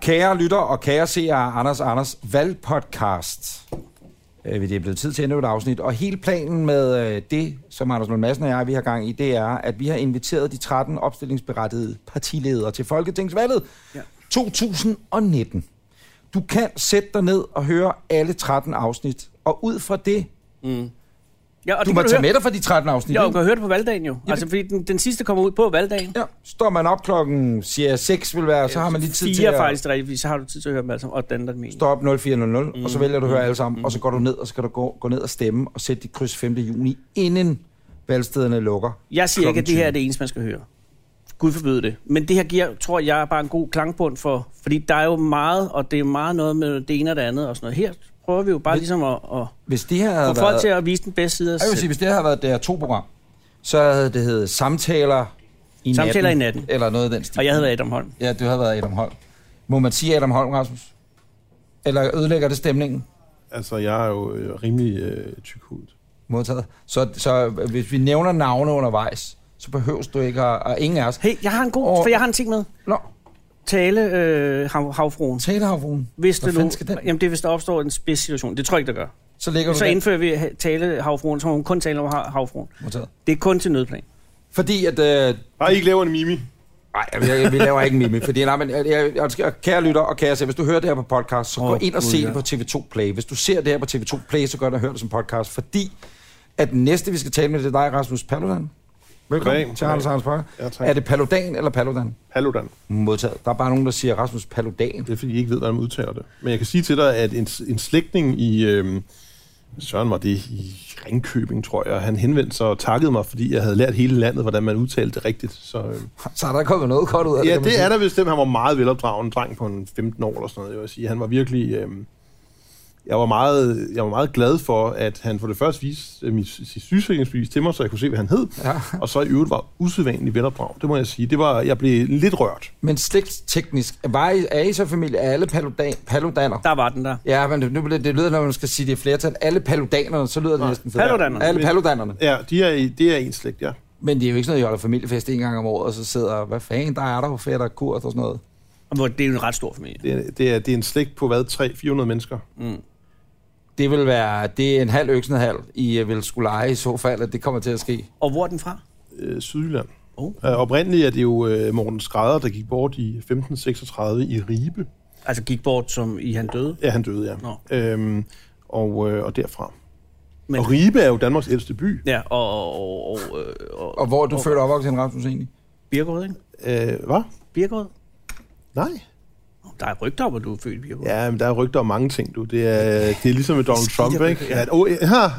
Kære lytter og kære seere, Anders Anders Valgpodcast. Øh, Det er blevet tid til endnu et afsnit, og hele planen med øh, det, som Anders Lund Madsen og jeg vi har gang i, det er, at vi har inviteret de 13 opstillingsberettigede partiledere til Folketingsvalget ja. 2019. Du kan sætte dig ned og høre alle 13 afsnit, og ud fra det, Ja, og du det må kan tage høre. med dig for de 13 afsnit, Jo, du ikke? kan høre det på valgdagen jo. Altså, fordi den, den sidste kommer ud på valgdagen. Ja, står man op klokken, siger 6 vil være, så har man lige tid til Fire at faktisk, det er rigtigt, fordi så har du tid til at høre dem alle sammen, og den der mening. stå op 0400, og så Mm-hmm. vælger du at høre alle sammen, og så går du ned, og så kan du gå, gå ned og stemme og sætte dit kryds 5. juni, inden valgstederne lukker. Jeg siger ikke, Klokken at det her er 20. det eneste, man skal høre. Gud forbyde det. Men det her giver, tror jeg, er bare en god klangbund for, fordi der er jo meget, og det er meget noget med det ene og det andet og sådan noget. Her prøver vi jo bare ligesom at, at Hvis det her få havde folk været, til at vise den bedste side af jeg sig vil sige, selv. hvis det her havde været det her to program, så havde det heddet Samtaler i Samtaler natten, i natten. Eller noget af den stil. Og jeg hedder Adam Holm. Ja, du havde været Adam Holm. Må man sige Adam Holm, Rasmus? Eller ødelægger det stemningen? Altså, jeg er jo øh, rimelig øh, tykhudet. Modtaget. Så, så hvis vi nævner navne undervejs, så behøves du ikke at... Og ingen af os... Hey, jeg har en god, Og- for jeg har en ting med. Nå, Tale øh, hav, havfruen. talehavfruen. Hvis Hvad det nu, fanden skal den? jamen det er, hvis der opstår en spids situation. Det tror jeg ikke, der gør. Så ligger du Så den. indfører vi ha- tale havfruen, så må hun kun tale om ha- havfruen. Modtaget. Det er kun til nødplan. Fordi at... Øh, Bare I ikke laver en mimi. Nej, vi, vi laver ikke en mimik, fordi nej, men jeg, jeg, jeg, kære lytter og kære ser, hvis du hører det her på podcast, så oh, gå Åh, ind og Gud, se ja. det på TV2 Play. Hvis du ser det her på TV2 Play, så gør det og hør det som podcast, fordi at den næste, vi skal tale med, det er dig, Rasmus Paludan. Velkommen Goddag, til Anders goddag. Anders Park. Ja, tak. Er det Paludan eller Paludan? Paludan. Modtaget. Der er bare nogen, der siger Rasmus Paludan. Det er, fordi I ikke ved, hvordan man udtaler det. Men jeg kan sige til dig, at en, en slægtning i... Øh, Søren var det i Ringkøbing, tror jeg. Han henvendte sig og takkede mig, fordi jeg havde lært hele landet, hvordan man udtalte det rigtigt. Så, øh. Så er der kommet noget godt ud af Ja, kan man det sige. er der vist dem. Han var meget velopdragen en dreng på en 15 år eller sådan noget. Jeg vil sige. Han var virkelig... Øh, jeg var, meget, jeg var meget glad for, at han for det første viste øh, mit sit sygesikringsbevis til mig, så jeg kunne se, hvad han hed. Ja. Og så i øvrigt var usædvanligt velopdrag. Det må jeg sige. Det var, jeg blev lidt rørt. Men slægtsteknisk, var I, er I så familie af alle Paludan, Paludaner? Der var den der. Ja, men det, nu, bliver- det lyder, når man skal sige det i flertal. Alle paludanerne, så lyder det næsten fedt. Paludanerne. Alle paludanerne. Ja, de er, i- det er en slægt, ja. Men det er jo ikke sådan noget, jeg holder familiefest en gang om året, og så sidder, hvad fanden, der er der jo fætter, kurt og sådan noget. Og hvor- Det er jo en ret stor familie. Det er, det er, det er en slægt på hvad? 300-400 mennesker. Det vil være, det er en halv øksenhal, I øh, vil skulle lege i så fald, at det kommer til at ske. Og hvor er den fra? Øh, Sydjylland. Oh. Øh, oprindeligt er det jo øh, Morten Skrædder, der gik bort i 1536 i Ribe. Altså gik bort, som i han døde. Ja, han døde, ja. Nå. Øhm, og, øh, og derfra. Men- Men... Og Ribe er jo Danmarks ældste by. Ja, og, og, og, og, og, Og hvor er du født og opvokset, henne, Rasmus, egentlig? Birkerød, ikke? Øh, hvad? Birkerød? Nej. Der er rygter om, at du er født i Birkerød. Ja. Ja, men der er rygter om mange ting, du. Det er, det er ligesom med Donald Beskidte Trump, ikke? rygter, ja. Ja. At, oh,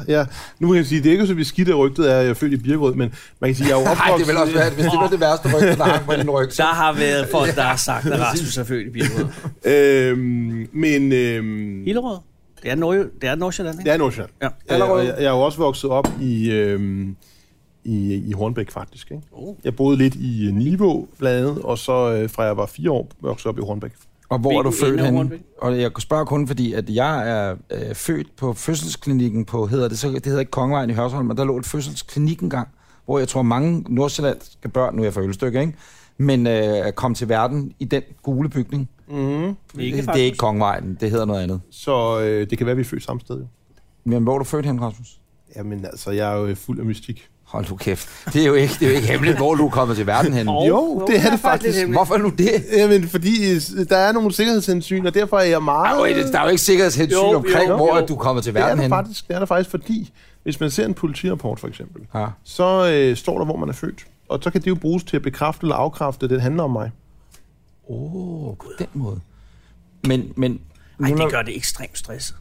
ja, ja. Nu kan jeg sige, det er ikke så beskidt, at rygtet er, at jeg er født i Birkerød, men man kan sige, at jeg er Nej, jo det opvokset... vil også være, hvis det var det værste ryg, der hang på din ryg. Så. Der har været folk, der har sagt, at Rasmus er født i Birkerød. Øhm, men... Øhm, Hillerød? Det er, Nord det er Nordsjælland, ikke? det er Nordsjælland. Ja. Øh, Allerød. og jeg, jeg er jo også vokset op i, øhm, i, i Hornbæk, faktisk. Ikke? Oh. Jeg boede lidt i øh, Nivå, blandt andet, og så øh, fra jeg var fire år, voksede jeg op i Hornbæk. Og hvor er du Hvilken født ende af henne? Hornbæk? Og jeg spørger kun, fordi at jeg er øh, født på fødselsklinikken på, hedder det, så, det hedder ikke Kongevejen i Hørsholm, men der lå et føsselsklinik engang, hvor jeg tror mange nordsjællandske børn, nu er jeg fra Ølstykke, ikke? men øh, kom til verden i den gule bygning. Mm. Ikke det, det er faktisk. ikke Kongevejen, det hedder noget andet. Så øh, det kan være, at vi er født samme sted. Jo. Men hvor er du født hen, Rasmus? Jamen altså, jeg er jo øh, fuld af mystik. Hold nu kæft. Det er jo ikke, det er jo ikke hemmeligt, hvor du er kommet til verden hen. Og- Jo, det er det faktisk. lidt hemmeligt. Hvorfor nu det? Jamen, fordi øh, der er nogle sikkerhedshensyn, og derfor er jeg meget... Ej, det- der er jo ikke sikkerhedshensyn Jo, jo, omkring, hvor jo. at du er kommet til det, er verden der hen. faktisk, det er der faktisk, fordi hvis man ser en politirapport for eksempel, Ja. så øh, står der, hvor man er født. Og så kan det jo bruges til at bekræfte eller afkræfte, at det handler om mig. Åh, oh, på den måde. Men, men... Ej, nu, når- det gør det ekstremt stresset.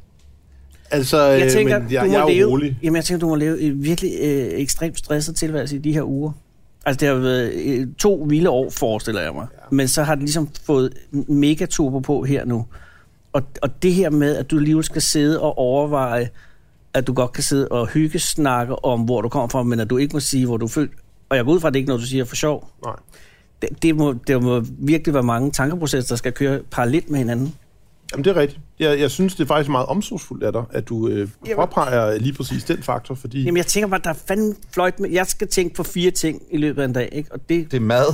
Altså, Jeg tænker, øh, men jeg, du må jeg er leve, jo rolig. Jamen, jeg tænker, du må leve en virkelig øh, ekstremt stresset tilværelse i de her uger. Altså, det har været øh, to vilde år, forestiller jeg mig. Ja. Men så har den ligesom fået mega turbo på her nu. Og, og det her med, at du alligevel skal sidde og overveje, at du godt kan sidde og hygge snakke om, hvor du kommer fra, men at du ikke må sige, hvor du er født. Og jeg går ud fra, at det ikke er noget, du siger for sjov. Nej. Det, det, må, det må virkelig være mange tankeprocesser, der skal køre parallelt med hinanden. Jamen, det er rigtigt. Jeg, jeg synes, det er faktisk meget omsorgsfuldt af dig, at du øh, påpeger lige præcis den faktor, fordi... Jamen, jeg tænker bare, der er fandme fløjt med. Jeg skal tænke på fire ting i løbet af en dag, ikke? Og det, Det er mad. det er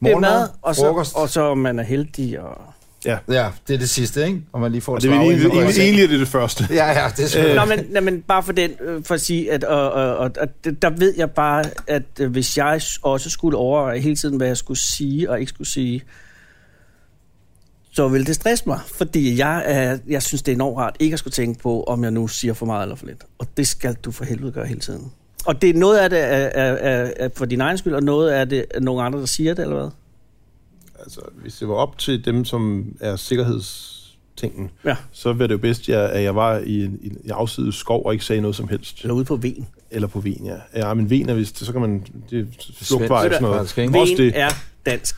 Morgenmad, mad, og så, frokost. og så om man er heldig. Og... Ja. Ja, det er det sidste, ikke? Og man lige får Og det er vel slag egentlig, ind i egentlig, ryggen. egentlig er det det første. Ja, ja, det er Nå, selvfølgelig. men, nej, men bare for den, øh, for at sige, at og, og, og, og, det- der ved jeg bare, at øh, hvis jeg s- også skulle overveje hele tiden, hvad jeg skulle sige og ikke skulle sige, så ville det stresse mig, fordi jeg, er, jeg synes, det er enormt rart ikke at skulle tænke på, om jeg nu siger for meget eller for lidt. Og det skal du for helvede gøre hele tiden. Og det er noget af det er, er, er, er for din egen skyld, og noget af det er nogle andre, der siger det, eller hvad? Altså, hvis det var op til dem, som er sikkerhedstingen, Ja. så ville det jo bedst, jeg, at jeg var i en, i en afsides skov og ikke sagde noget som helst. Eller ude på ven. Eller på Ven, ja. Ja, men Ven er vist, så kan man... Det er flugtvej og sådan noget. faktisk, ikke? Også Ven det. er dansk.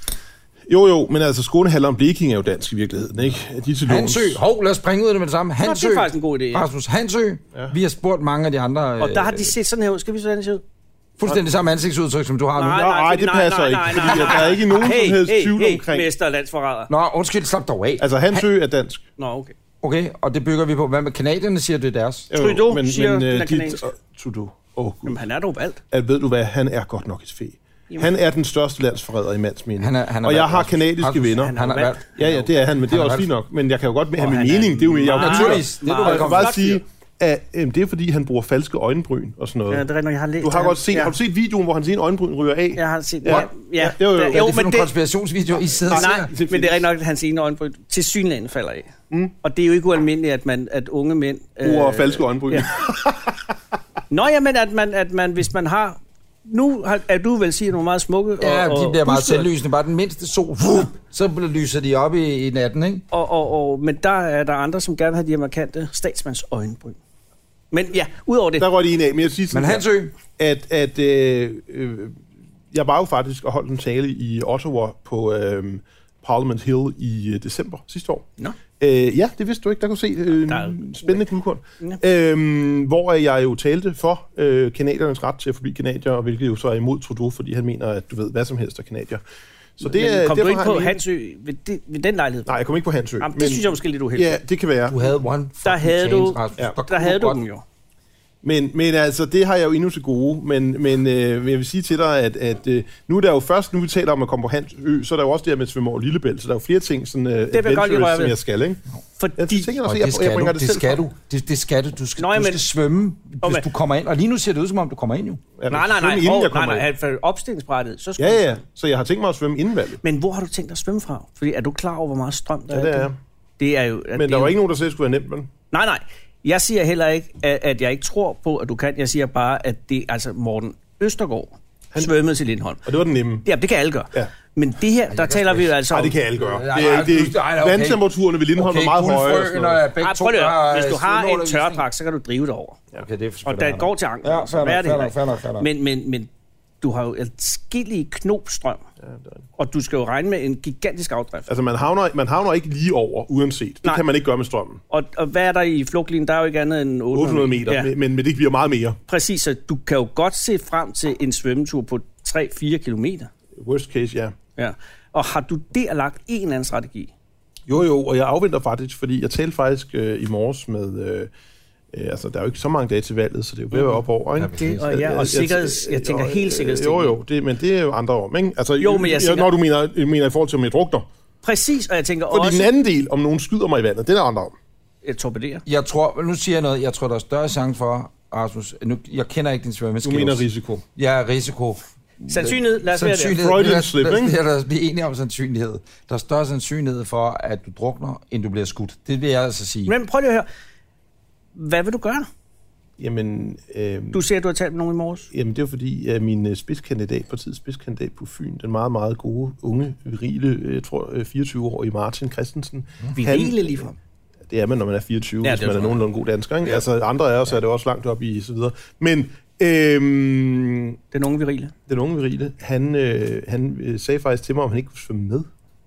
Jo, jo, men altså Skånehalder om Blekinge er jo dansk i virkeligheden, ikke? De er til låns. Hansø, hov, lad os springe ud af det med det samme. Nå, Hansø, det er faktisk en god idé. Ja. Rasmus Hansø, Ja. vi har spurgt mange af de andre, Og der har øh, de set sådan her ud. Skal vi se, hvordan det ser ud? fuldstændig samme ansigtsudtryk, som du har nu. Nej, det passer ikke, fordi at der er ikke nogen som hey, helst hey, tvivl hey, omkring- Mester og landsforræder. Nå, undskyld, slap dog af. Altså Hansø er dansk. Nå, okay. Okay, og det bygger vi på. Hvad med kanadierne siger, det er deres? Jo, jo, Trudeau siger, øh, den er de- kanadisk. og- Trudeau. Åh, oh, gud. Jamen, han er dog valgt. At, ved du hvad, han er godt nok et fæ. Jamen. Han er den største landsforræder i mands mening. Han er- han er og jeg valgt, har Rasmus. kanadiske Rasmus, venner. han er Han er valgt. valgt. Ja, ja, det er han, men det er Han er også valgt. fint nok. Men jeg kan jo godt med have Og min han er mening. Det er jo jeg er jo meget- naturlig. Naturligvis, det er du Jeg kan velkommen. bare Flot fyr. sige, at øhm, det er fordi, han bruger falske øjenbryn og sådan Ja, noget. det er rigtigt, nok, jeg har læst Du har ham. godt set, ja. har du set videoen, hvor hans ene øjenbryn ryger af? Jeg har set, Ja. ja, ja, ja, det var jo- der- Ja, det er Jo, jo det er men nogle det, konspirationsvideoer, I sidder og nej, ser. men det er rigtigt nok, at hans ene øjenbryn til synlægen falder af. Mm. Og det er jo ikke ualmindeligt, at, man, at unge mænd... Bruger falske øjenbryn. ja. Nå ja, men at man, at man, hvis man har... Nu har, er du vel sige nogle meget smukke og, Ja, og de bliver meget buslede. selvlysende. Bare den mindste sol, vup, så lyser de op i, i natten, ikke? Og, og, og, men der er der andre, som gerne vil have de her markante statsmandsøjenbryn. Men ja, udover det, Der røg de en af, men jeg siger Men sådan her, Hansø, at, at øh, øh, jeg var jo faktisk og holdt en tale i Ottawa på øh, Parliament Hill i øh, december sidste år. Nå. Øh, ja, det vidste du ikke. Der kunne se øh, Der er- en spændende guldkorn. Øhm, hvor jeg jo talte for øh, kanadiernes ret til at forbi kanadier, og hvilket jo så er imod Trudeau, fordi han mener, at du ved, hvad som helst er kanadier. Så det, men er- kom du derfor ikke har på han- Hansø ved, det, ved den lejlighed? Nej, jeg kom ikke på Hansø. Jamen, det synes jeg måske er lidt uheldigt. Ja, det kan være. du havde one Der havde du- Ja. Der havde du den jo. Men, men altså, det har jeg jo endnu til gode, men, men øh, jeg vil sige til dig, at, at øh, nu er der jo først, nu vi taler om at komme på Hans Ø, så er der jo også det her med Svømmer og Lillebælt, så der er jo flere ting, sådan, øh, det jeg godt lige røre som ved. jeg skal, ikke? Jeg Fordi, tænker Og også, det at jeg, skal, jeg bringer du, det, det selv skal frem. du. Det, det skal du. Du skal, Nå, du jamen- skal svømme, hvis hvad- du kommer ind. Og lige nu ser det ud, som om du kommer ind jo. Ja, men nej, nej, nej, svømme Inden hov, jeg nej, kommer nej, ind. nej, for opstillingsbrættet, så skal Ja, du- ja, så jeg har tænkt mig at svømme inden valget. Men hvor har du tænkt dig at svømme fra? Fordi er du klar over, hvor meget strøm der Ja, er? det i det? Det er jeg. er jo... at Men det der er jo- var ikke nogen, der sagde, at det skulle være nemt, vel? Nej, nej. Jeg siger heller ikke, at, at jeg ikke tror på, at du kan. Jeg siger bare, at det... Altså, Morten Østergaard han... svømmede til Lindholm. Og det var den nemme. Ja, det kan alle gøre. Ja. Men det her, der taler vi jo altså Nej, om... det kan alle gøre. Nej, Det er, nej, det, du- nej, nej, okay. vandtemperaturerne ved Lindholm er meget høje. Og sådan noget. Ej, Ah, prøv lige at øh, høre. Hvis du har en tørdragt, så kan du drive det over. Okay, det er for Og der går til anker. Ja, fair Hvad er nok, det fair heller nok, ikke? fair nok, fair nok. Men, men, men du har jo adskillige knopstrøm, og du skal jo regne med en gigantisk afdrift. Altså, man havner, man havner ikke lige over, uanset. Det Nej. kan man ikke gøre med strømmen. Og, og hvad er der i flugtlinjen? Der er jo ikke andet end 800, 800 meter, Ja, men, men det bliver meget mere. præcis, så du kan jo godt se frem til en svømmetur på 3-4 kilometer. Worst case, ja. Ja. Og har du der lagt en eller anden strategi? Jo, jo, og jeg afventer faktisk, fordi jeg talte faktisk øh, i morges med... Øh, øh, altså, der er jo ikke så mange dage til valget, så det er jo ved at være op over, ikke? Det, og, ja, og sikkerheds, jeg tænker jo, helt øh, sikkerheds. Jo, jo, det, men det er jo andre om, ikke? Altså, Jo, men jeg jo, tænker- Når du mener, mener i forhold til, om jeg drukner. Præcis, og jeg tænker Fordi den også... anden del, om nogen skyder mig i vandet, det er der andre om. Jeg torpederer. Jeg tror, nu siger jeg noget, jeg tror, der er større chance for, Rasmus, nu, jeg kender ikke din Du svømmeskills. mener risiko. Ja, risiko. Sandsynlighed, lad os være der. Sandsynlighed, Freudian lad os- slip, lad os- ikke? ja, Lad os blive enige om sandsynlighed. Der er større sandsynlighed for, at du drukner, end du bliver skudt. Det vil jeg altså sige. Men prøv lige at høre. Hvad vil du gøre? Jamen, øh, Du siger, at du har talt med nogen i morges. Jamen, det er jo fordi, at min øh, spidskandidat, partiets spidskandidat på Fyn, den meget, meget gode, unge, virile, øh, jeg tror, øh, 24-årige Martin Christensen. Virile ligefrem. Det er man, når man er 24, Ja, ja, hvis det man tror jeg. er nogenlunde god dansker. Ikke? Ja. Altså, andre er også, er det også langt op i, så videre. Men øhm, Den unge virile. den unge virile, han, øh, han øh, sagde faktisk til mig, om han ikke kunne svømme med.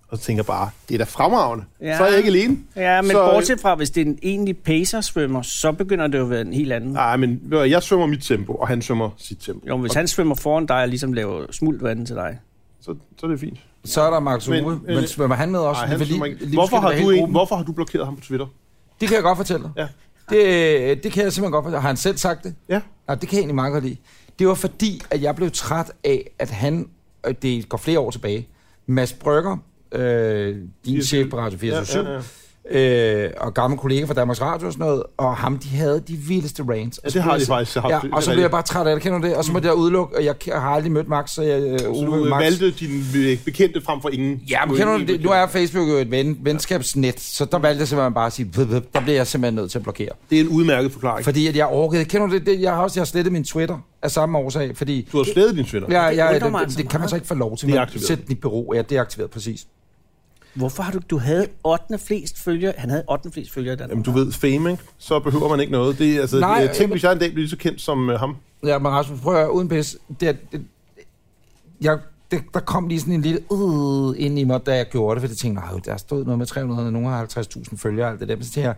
Og så tænker jeg bare, det er da fremragende. Ja. Ja. Så er jeg ikke alene. Ja, men Så- så... bortset fra, hvis det er en egentlig pacer-svømmer, så begynder det jo at være en helt anden. Nej, men ved du hvad, jeg svømmer mit tempo, og han svømmer sit tempo. Jo, men hvis han svømmer foran dig og ligesom laver smultvand til dig. Så, så er det fint. Så er der Max Uwe, Men, men, øh, men svømmer han med også? Ej, Det han vil svømmer lige- ikke. lige Hvorfor skal har, være du hele en, gruppen. hvorfor har du blokeret ham på Twitter? Det kan jeg godt fortælle dig. Ja. Det, det kan jeg simpelthen godt fortælle. Har han selv sagt det? Ja. Nej, det kan jeg egentlig meget godt lide. Det var fordi, at jeg blev træt af, at han, og det går flere år tilbage, Mads Brygger, øh, din chef på Radio 4 ja, ja, ja. øh, og gammel kollega fra Danmarks Radio og sådan noget, og ham, de havde de vildeste rants. Ja, det har de faktisk haft. Ja, Det er og så blev rigtigt. jeg bare træt af det, kender du det? Og så måtte jeg udelukke, og jeg ke- har aldrig mødt Max, så jeg... Øh, Så Ove, du Max. valgte din øh, bekendte frem for ingen. Ja, men kender du det? Nu er Facebook jo et ven, venskabsnet, så der valgte jeg simpelthen bare at sige, "Vup, vup." der bliver jeg simpelthen nødt til at blokere. Det er en udmærket forklaring. Fordi at jeg orkede, kender du det? det jeg har også jeg har slettet min Twitter af samme årsag, fordi... Du har slettet din Twitter. Jeg, jeg, undrer det, mig det, altså det kan man meget. så ikke få lov til. Det er Man aktiveret. sætter den i bero. Ja, det er aktiveret, præcis. Hvorfor har du... Du havde 8. flest følgere. Han havde 8. flest følgere i Danmark. Jamen, du ved, fame, ikke? Så behøver man ikke noget. Det, er, altså, Nej, Nej, tænk, øh, hvis jeg en dag bliver lige så kendt som øh, ham. Ja, men Rasmus, prøv at høre, uden pis. Det, er- det, jeg, det, der kom lige sådan en lille øh, ind i mig, da jeg gjorde det, for jeg tænkte, nej, der stod noget med 300, nogen har 50.000 følgere og alt det der. Men så tænkte jeg,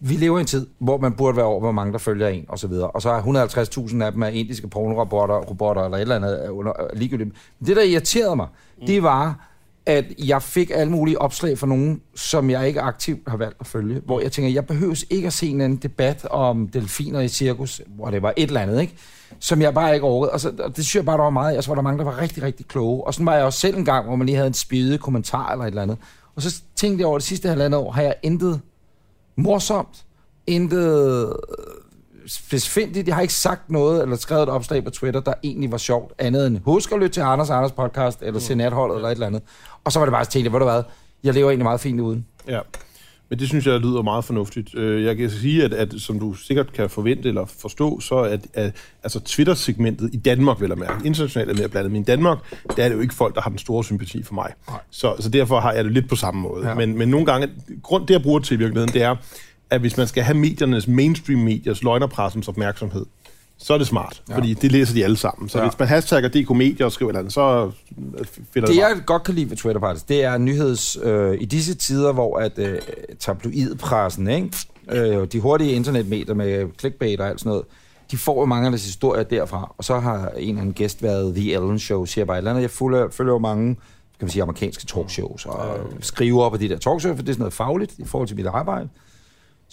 vi lever i en tid, hvor man burde være over, hvor mange der følger en, og så videre. Og så er 150.000 af dem er indiske pornorobotter, robotter eller et eller andet er under, er ligegyldigt. Men det, der irriterede mig, det var, at jeg fik alle mulige opslag fra nogen, som jeg ikke aktivt har valgt at følge, hvor jeg tænker, jeg behøves ikke at se en eller anden debat om delfiner i cirkus, hvor det var et eller andet, ikke? som jeg bare ikke overgået. Og, så, og det synes jeg bare, der var meget. Jeg så var der mange, der var rigtig, rigtig kloge. Og sådan var jeg også selv en gang, hvor man lige havde en spide kommentar eller et eller andet. Og så tænkte jeg over det sidste halvandet år, har jeg intet morsomt, intet øh, specifikt. Jeg har ikke sagt noget eller skrevet et opslag på Twitter, der egentlig var sjovt, andet end husk at lytte til Anders og Anders podcast, eller se natholdet, eller et eller andet. Og så var det bare, så tænkte jeg, ved du hvad, jeg lever egentlig meget fint uden. Ja. Men det synes jeg lyder meget fornuftigt. Øh, Jeg kan sige, at, at som du sikkert kan forvente eller forstå, så at, at altså Twitter-segmentet i Danmark, vel at mærke, internationalt er mere blandet, men i Danmark, der er det jo ikke folk, der har den store sympati for mig. Så, så derfor har jeg det lidt på samme måde. Ja. Ja. Men, men nogle gange, grund det jeg bruger det til i virkeligheden, det er, at hvis man skal have mediernes, mainstream-mediers, løgnerpressens opmærksomhed, så er det smart, ja. fordi det læser de alle sammen. Så Ja. ja. hvis man hashtagger DK-medier og skriver et eller andet, så øh, finder Det, det jeg godt kan lide ved Twitter faktisk, det er nyheds... Øh, I disse tider, hvor at øh, tabloidpressen, ikke? Øh, de hurtige internetmedier med clickbait og alt sådan noget, de får jo mange af deres historier derfra. Og så har en eller anden gæst været The Ellen Show, siger bare et eller andet. Jeg følger, følger jo mange kan man sige, amerikanske talkshows, og øh, skriver op af de der talkshows, for det er sådan noget fagligt i forhold til mit arbejde.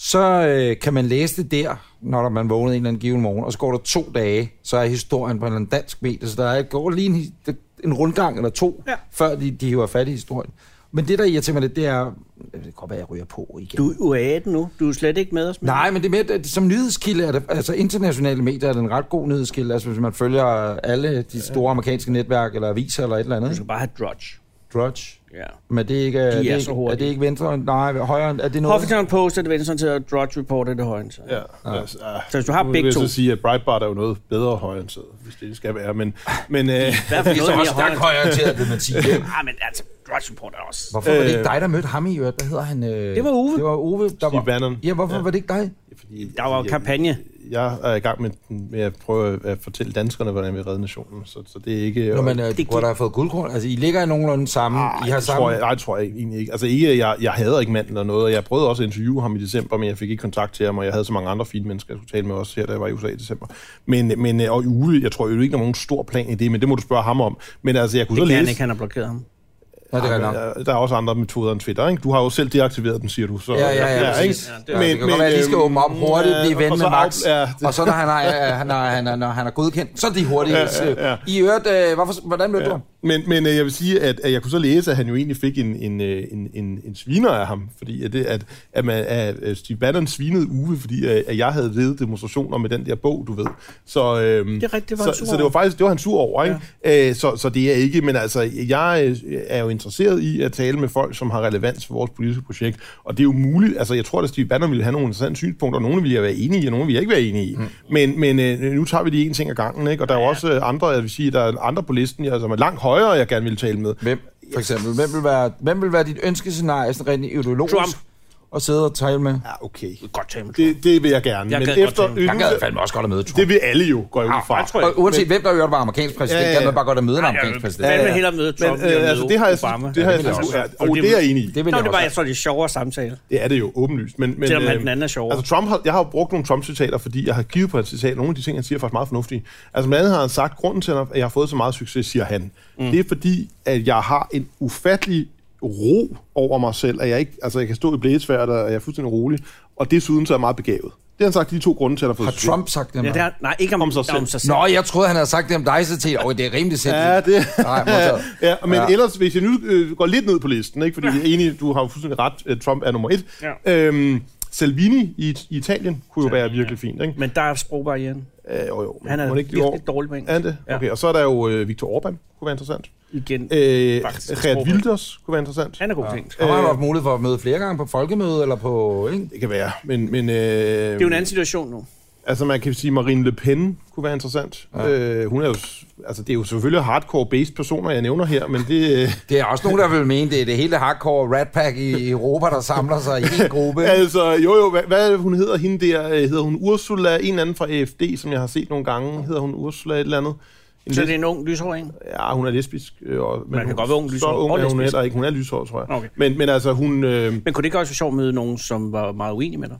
Så øh, kan man læse det der, når der- man vågnede en eller anden given morgen, og så går der to dage, så er historien på en eller anden dansk medie, så der er, går lige en, hi- en rundgang eller to, ja. Ja. før de, de hiver fat i historien. Men det, der irriterer mig lidt, det er, det kan godt være, jeg ryger på igen. Du er jo 18 nu. Du er slet ikke med os. men- Nej, men det er mere, at som nyhedskilde er det, altså internationale medier er det en ret god nyhedskilde, altså hvis man følger alle de store amerikanske netværk, eller aviser, eller et eller andet, Du ikke? skal bare have Drudge. Drudge. Ja. Men det er ikke, er, det er ikke, så er hurtige. det ikke venstre? Nej, højre, er det noget? Huffington Post er det venstre til, og Drudge Report er det højre. Så. Ja, altså, ah, Så hvis du har nu begge vil to- Jeg så sige, at Breitbart er jo noget bedre højorienteret, hvis det skal være, men... men øh, I hvert fald Det er noget så mere også stærkt højre. højere til, at det er Mathias. Ah, men altså, Drudge Report er også... Hvorfor var det ikke dig, der mødte ham i øvrigt? Hvad hedder han? Øh... Det var Ove. Det var Ove. Der var... Steve Bannon. Ja, hvorfor ja. var det ikke dig? fordi, Der var jo jeg- kampagne. Jeg er i gang med, med at prøve at fortælle danskerne, hvordan vi redder nationen, så, så det er ikke... Nå, men og- øh, du gik- kunne da have fået guldkorn. Altså, I ligger i nogenlunde samme. Ej, I har Ah, det tror samme... jeg, nej, det tror jeg egentlig ikke. Altså, ikke, jeg, jeg hader ikke manden eller noget, og jeg prøvede også at interviewe ham i december, men jeg fik ikke kontakt til ham, og jeg havde så mange andre fine mennesker, jeg skulle tale med også her, da jeg var i USA i december. Men, men øh, og Uwe, jeg tror jo ikke, der er nogen stor plan i det, men det må du spørge ham om. Men altså, jeg kunne Det så kan han læse... ikke, han har blokeret ham. Nå, det er rigtigt nok. Ja, øh, der er også andre metoder end Twitter, ikke? Du har jo selv deaktiveret den, siger du. Så, Ja, ja, ja, ja, ikke? præcis. Ja, det kan godt være, at de skal øhm, åbne op hurtigt, ja, blive ven og så med Max. af- Ja, det, Og så når han er, når han er, når han er godkendt, så er de hurtige. Ja, ja, ja. I øvrigt, øh, hvorfor, hvordan mødte du ja. ham? Men, men øh, jeg vil sige, at, at jeg kunne så læse, at han jo egentlig fik en, en, øh, en, en, en sviner af ham, fordi at, det, at, at, man, at øh, Steve Bannon svinede Uwe, fordi øh, at jeg havde ledet demonstrationer med den der bog, du ved. Så, øhm, Det er rigtigt, det var så, han sur så det var over. faktisk det var han sur over, ikke? Ja. Øh, så, så det er ikke, men altså, jeg øh, er jo interesseret i at tale med folk, som har relevans for vores politiske projekt, og det er jo muligt, altså jeg tror, at Steve Bannon ville have nogle interessante synspunkter, og nogle ville jeg være enige i, og nogle ville jeg ikke være enige i. Mm. Men, men øh, nu tager vi de en ting ad gangen, ikke? Og der er jo også øh, andre, jeg vil sige, der er andre på listen, jeg, som er langt højere, jeg gerne vil tale med. Hvem, for eksempel? Hvem vil være, hvem vil være dit ønskescenarie, sådan rent ideologisk? Trump. Og sidde og tale med? Ja, okay. Godt tage med Trump. Det, det vil jeg gerne. Jeg men gad Ah, godt efter tale med- Jeg gad yndelse, fandme også godt at møde Trump. det vil alle jo, går jeg ud fra. Og uanset hvem der i øvrigt var amerikansk præsident, Ja, ja, ja. kan man bare godt at møde en Nej, jeg amerikansk vil præsident. fandme Ja, ja. hellere møde Trump, end Men, jeg øh, altså, møder det har jeg, Obama. det har Ja, jeg, det vil jeg ja, også. og det er jeg enig i. Det vil Nå, jeg det var, jeg også. tror, det er sjovere samtale. Det er det jo åbenlyst. Men, men, Selvom han øh, den anden er sjovere. Altså Trump har, jeg har jo brugt nogle Trump-citater, fordi jeg har givet på hans citat. Nogle af de ting, han siger, er faktisk meget fornuftige. Altså blandt andet har han sagt, grunden til, at jeg har fået så meget succes, siger han, mm. det er fordi, at jeg har en ufattelig ro over mig selv, at jeg ikke, altså jeg kan stå i blæsværd, og jeg er fuldstændig rolig, og desuden så er jeg meget begavet. Det har han sagt, de to grunde til, at han Har fået succes. Trump sagt det? Ja, det er, nej, ikke om, om sig selv. Om sig selv. Nå, jeg troede, han havde sagt det om dig, så tænkte jeg, "Åh, det er rimelig sindssygt. Ja, det... Nej, modtaget. ja, men Ja. ja. ellers, hvis jeg nu øh, går lidt ned på listen, ikke, fordi ja. jeg er enig, du har jo fuldstændig ret, at Trump er nummer et. Ja. Øhm, Salvini i, i Italien kunne jo være virkelig fint, ikke? Men der er sprogbarrieren. Øh, jo, jo. men Han må er det ikke i år? virkelig dårlig på engelsk. Er han det? Ja. Okay, og så er der jo øh, Viktor Orbán, kunne være interessant. Igen. Øh, Faktisk, Geert sproget. Wilders kunne være interessant. Han er god til engelsk. Og har han haft mulighed for at møde flere gange på folkemøde eller på... Ikke? Det kan være, men... men øh, Det er jo en anden situation nu. Altså, man kan sige, Marine Le Pen kunne være interessant. Ja. Øh, hun er jo... s- Altså, det er jo selvfølgelig hardcore-based personer, jeg nævner her, men det... Øh, Det er også nogen, der vil mene, det er det hele hardcore rat pack i Europa, der samler sig i en gruppe. altså, jo jo, hvad, hvad er det, hun hedder hende der? Øh, Hedder hun Ursula? En eller anden fra AFD, som jeg har set nogle gange. Hedder hun Ursula et eller andet? En Så les- det er en ung lyshårig, ikke? Ja, hun er lesbisk. Øh, og, men kan hun, godt være ung så lyshåret ung og er hun lesbisk. heller ikke. Hun er lyshåret, tror jeg. Okay. Men, men altså, hun... Øh, Men kunne det ikke også være sjovt at møde nogen, som var meget uenige med dig?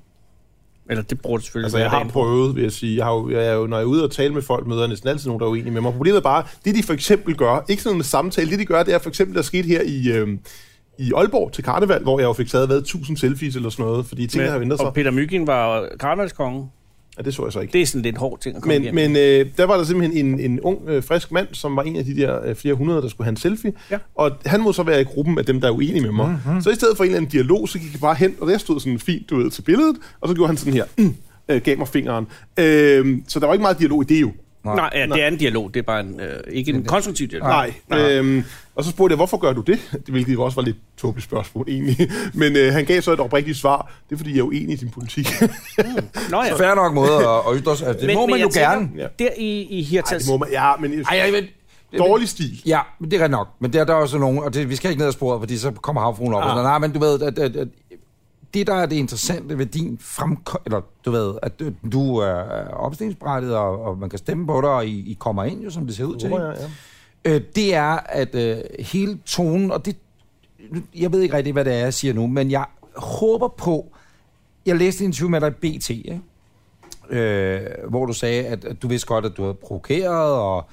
Eller det burde selvfølgelig Altså, være jeg har dagen. prøvet, vil jeg sige. Jeg har jo, jeg er jo, når jeg er ude og tale med folk, møder jeg næsten altid nogen, der er uenige med mig. Problemet er bare, det de for eksempel gør, ikke sådan en samtale, det de gør, det er for eksempel, der skete her i, øh, i Aalborg til karneval, hvor jeg jo fik taget været 1000 selfies eller sådan noget, fordi tingene har Men- ændret sig. Og Peter Myggen var karnevalskonge. Ja, det så jeg så ikke. Det er sådan lidt hård ting at komme Men, igennem. men øh, der var der simpelthen en, en ung, øh, frisk mand, som var en af de der øh, flere hundrede, der skulle have en selfie. Ja. Og han må så være i gruppen af dem, der er uenige med mig. Mm-hmm. Så i stedet for en eller anden dialog, så gik jeg bare hen, og der stod sådan fint, du ved, til billedet. Og så gjorde han sådan her, mm, øh, gav mig fingeren. Øh, så der var ikke meget dialog i det jo. Nej, ja, det er en dialog. Det er bare en, øh, ikke en konstruktiv dialog. Nej. Nej. Øhm, og så spurgte jeg, hvorfor gør du det? Det- Hvilket jo også var lidt tåbeligt spørgsmål egentlig. Men øh, han gav så et oprigtigt svar. Det er, fordi jeg er uenig i din politik. Nå ja. Fair nok måde at, at ytre sig. Altså, det men, må man jeg jo tænker, gerne. Der i, i Ej, det Hirtals... må man, ja, men Ej, ej, men, dårlig stil. Ja, men det er rigtig nok. Men der, der er også nogen, og det, vi skal ikke ned ad sporet, fordi så kommer havfruen op. Ah. Og sådan, nej, men du ved, at, at, at, det der er det interessante ved din fremkom... Eller du ved, at du- du er opstillingsberettiget, og, og man kan stemme på dig, og I, I kommer ind jo, som det ser ud til. Tror ikke? jeg, ja. øh, det er, at øh, hele tonen, og det, nu- jeg ved ikke rigtig, hvad det er, jeg siger nu, men jeg håber på, jeg læste en interview med dig i BT, ikke? Øh, hvor du sagde, at, at du vidste godt, at du havde provokeret, og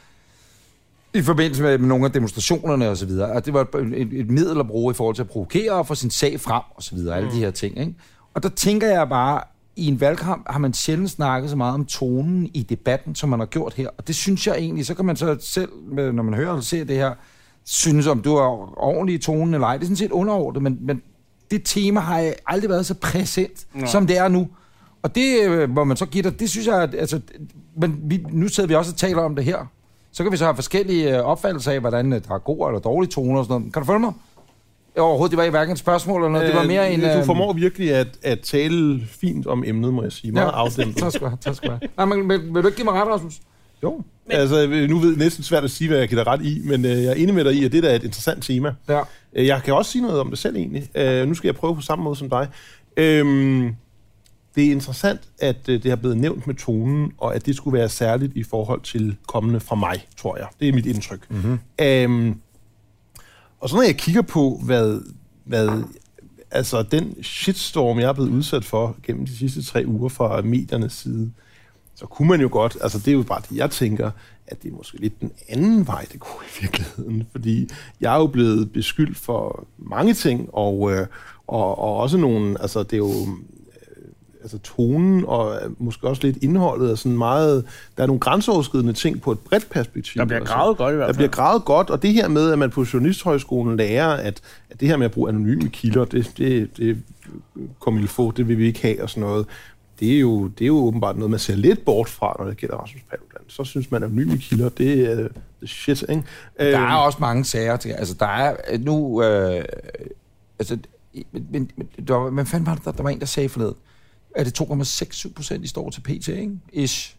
i forbindelse med nogle af demonstrationerne og så videre, at det var et, et, et middel at bruge i forhold til at provokere og få sin sag frem og så videre, alle de her ting. Ikke? Og der tænker jeg bare, i en valgkamp har man sjældent snakket så meget om tonen i debatten, som man har gjort her. Og det synes jeg egentlig, så kan man så selv, med- når man hører og ser det her, synes om du er ordentlig i tonen eller ej. Det er sådan set underordnet, men, men det tema har jeg aldrig været så præsent, Nej. som det er nu. Og det øh, må man så give dig, det synes jeg, at, altså, men vi, nu sidder vi også og taler om det her. Så kan vi så have forskellige øh, opfattelser af, hvordan øh, der er gode eller dårlige toner og sådan noget. Kan du følge mig? Overhovedet, det var ikke hverken et spørgsmål eller noget. det var mere en... øh, øh, du formår virkelig at, at tale fint om emnet, må jeg sige. Meget ja. afdæmpet. tak skal du have, tak skal du have. Nej, men, men vil du ikke give mig ret, Rasmus? Jo. Men... Altså, nu ved jeg næsten svært at sige, hvad jeg kan da ret i, men øh, jeg er enig med dig i, at det der er et interessant tema. Ja. Øh, Jeg kan også sige noget om det selv egentlig. Øh, nu skal jeg prøve på samme måde som dig. Øhm, det er interessant, at øh, det har blevet nævnt med tonen, og at det skulle være særligt i forhold til kommende fra mig, tror jeg. Det er mit indtryk. Mm-hmm. Øhm, og så når jeg kigger på, hvad, hvad altså den shitstorm, jeg er blevet udsat for gennem de sidste tre uger fra mediernes side, så kunne man jo godt, altså det er jo bare det, jeg tænker, at det er måske lidt den anden vej, det går i virkeligheden. Fordi jeg er jo blevet beskyldt for mange ting, og, øh, og, og også nogle, altså det er jo altså tonen og øh, måske også lidt indholdet er sådan meget... Der er nogle grænseoverskridende ting på et bredt perspektiv. Altså, Der bliver gravet godt i hvert Der fald. bliver gravet godt, og det her med, at man på Journalisthøjskolen lærer, at, at det her med at bruge anonyme kilder, det, det, det kommer i få, det vil vi ikke have og sådan noget. Det er, jo, det er jo åbenbart noget, man ser lidt bort fra, når det gælder Rasmus Paludan. Så synes man, at anonyme kilder, det er uh, shit, ikke? Der er Øhm, også mange sager til. Altså, der er øh, nu... Øh, altså, i- men, men, men der var, men fanden var det, der, der var en, der sagde forleden? Er det 2,67 procent, I står til PT, ikke? Ish.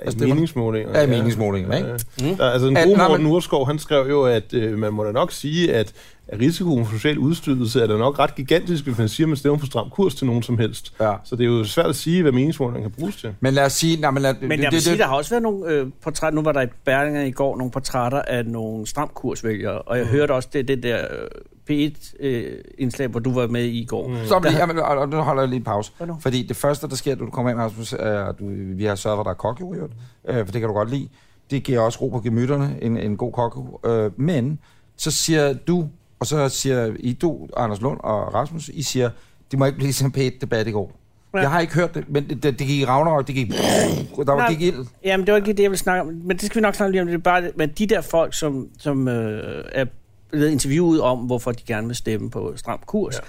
Altså, det var- meningsmålinger. Ja, meningsmålinger, ikke? Mm. Der, altså, en At- god nej, Morten men- Urskov, han skrev jo, at øh, man må da nok sige, at at risikoen for social udstødelse er da nok ret gigantisk, hvis man siger, at man stemmer på stram kurs til nogen som helst. Ja. Så det er jo svært at sige, hvad meningsmålingen kan bruges til. Men lad os sige... Nej, men lad, Men jeg vil sige, der har også været nogle øh, portrætter, nu var der i Berlinger i går nogle portrætter af nogle stramkursvælgere, og jeg mm. hørte også det, det der øh, P1-indslag, hvor du var med i i går. Mm. Stop lige, jamen, og, og nu holder jeg lige en pause. Hvad nu? Fordi det første, der sker, når du kommer ind, Rasmus, er, at du, vi har sørget for, at der er kokkejo, i øvrigt, øh, for det kan du godt lide. Det giver også ro på gemytterne, en, en god kokkejo. Øh, men så siger du, Og så siger I du, Anders Lund og Rasmus, I siger, det må ikke blive sådan en pæt debat i går. Ja. Ja. Jeg har ikke hørt det, men det, det, det gik i Ragnarok, det gik... Der var, Nej. gik ild. Jamen, det var ikke lige det, jeg ville snakke om. Men det skal vi nok snakke lige om. Det er bare, men de der folk, som, som øh, er blevet interviewet om, hvorfor de gerne vil stemme på stram kurs, Ja. ja.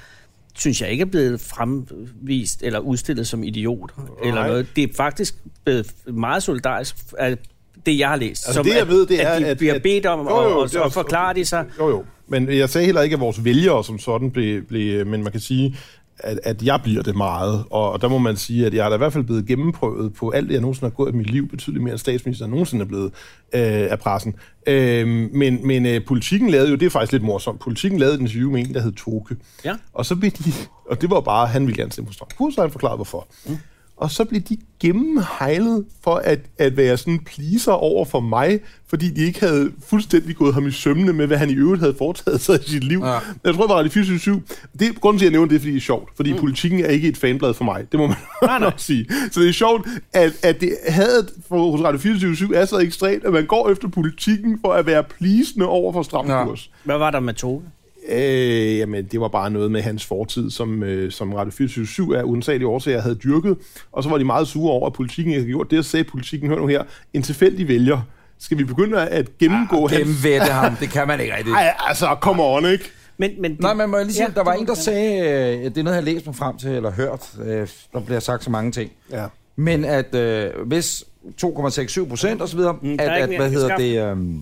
synes jeg ikke er blevet fremvist eller udstillet som idioter. Nej. Eller Nej. noget. Det er faktisk blevet meget solidarisk af det, jeg har læst. Altså, det, jeg ved, det er, at, de at- bliver at- bedt om, Jo, jo, jo, jo, og, det er og, og også- forklarer de sig. Jo, jo. Men jeg sagde heller ikke, at vores vælgere som sådan blev... blev øh, men man kan sige, at, at jeg bliver det meget. Og, og der må man sige, at jeg er da i hvert fald blevet gennemprøvet på alt det, jeg nogensinde har gået i mit liv, betydeligt mere end statsministeren nogensinde er blevet øh, af pressen. Øh, men men øh, politikken lavede jo... Det er faktisk lidt morsomt. Politikken lavede et interview med en, der hed Toke. Ja. Og så blev de... Og det var bare, han ville gerne stemme på Stram Kurs, og han forklarede, hvorfor. Mm. Og så blev de gennemhejlet for at, at være sådan pleaser over for mig, fordi de ikke havde fuldstændig gået ham i sømne med, hvad han i øvrigt havde foretaget sig i sit liv. Ja. Ja. Jeg tror, det var Radio 24 Det Grunden til, at jeg nævner det, er, fordi det er sjovt. Fordi mm. politikken er ikke et fanblad for mig. Det må man nej, nok sige. Så det er sjovt, at, at det havde hos Radio 24 er så ekstremt, at man går efter politikken for at være pleasende over for stram Ja. kurs. Hvad var der med Toge? Øh, jamen, det var bare noget med hans fortid, som, øh, som Radio 24 af uansagelige årsager havde dyrket. Og så var de meget sure over, at politikken havde gjort det, og sagde politikken, hør nu her, en tilfældig vælger. Skal vi begynde at gennemgå ah, hans... Gennemvætte ham, det kan man ikke rigtigt. Ej, altså, come on, ikke? Men, men det, Nej, men må jeg lige sige, Ja, ja, der var det en, må der du sagde, øh, det er noget, jeg har læst mig frem til, eller hørt, øh, der bliver sagt så mange ting. Ja. Men at øh, hvis 2,67 procent osv., mm, der er at, ikke at, mere, hvad der hedder skal det, øh,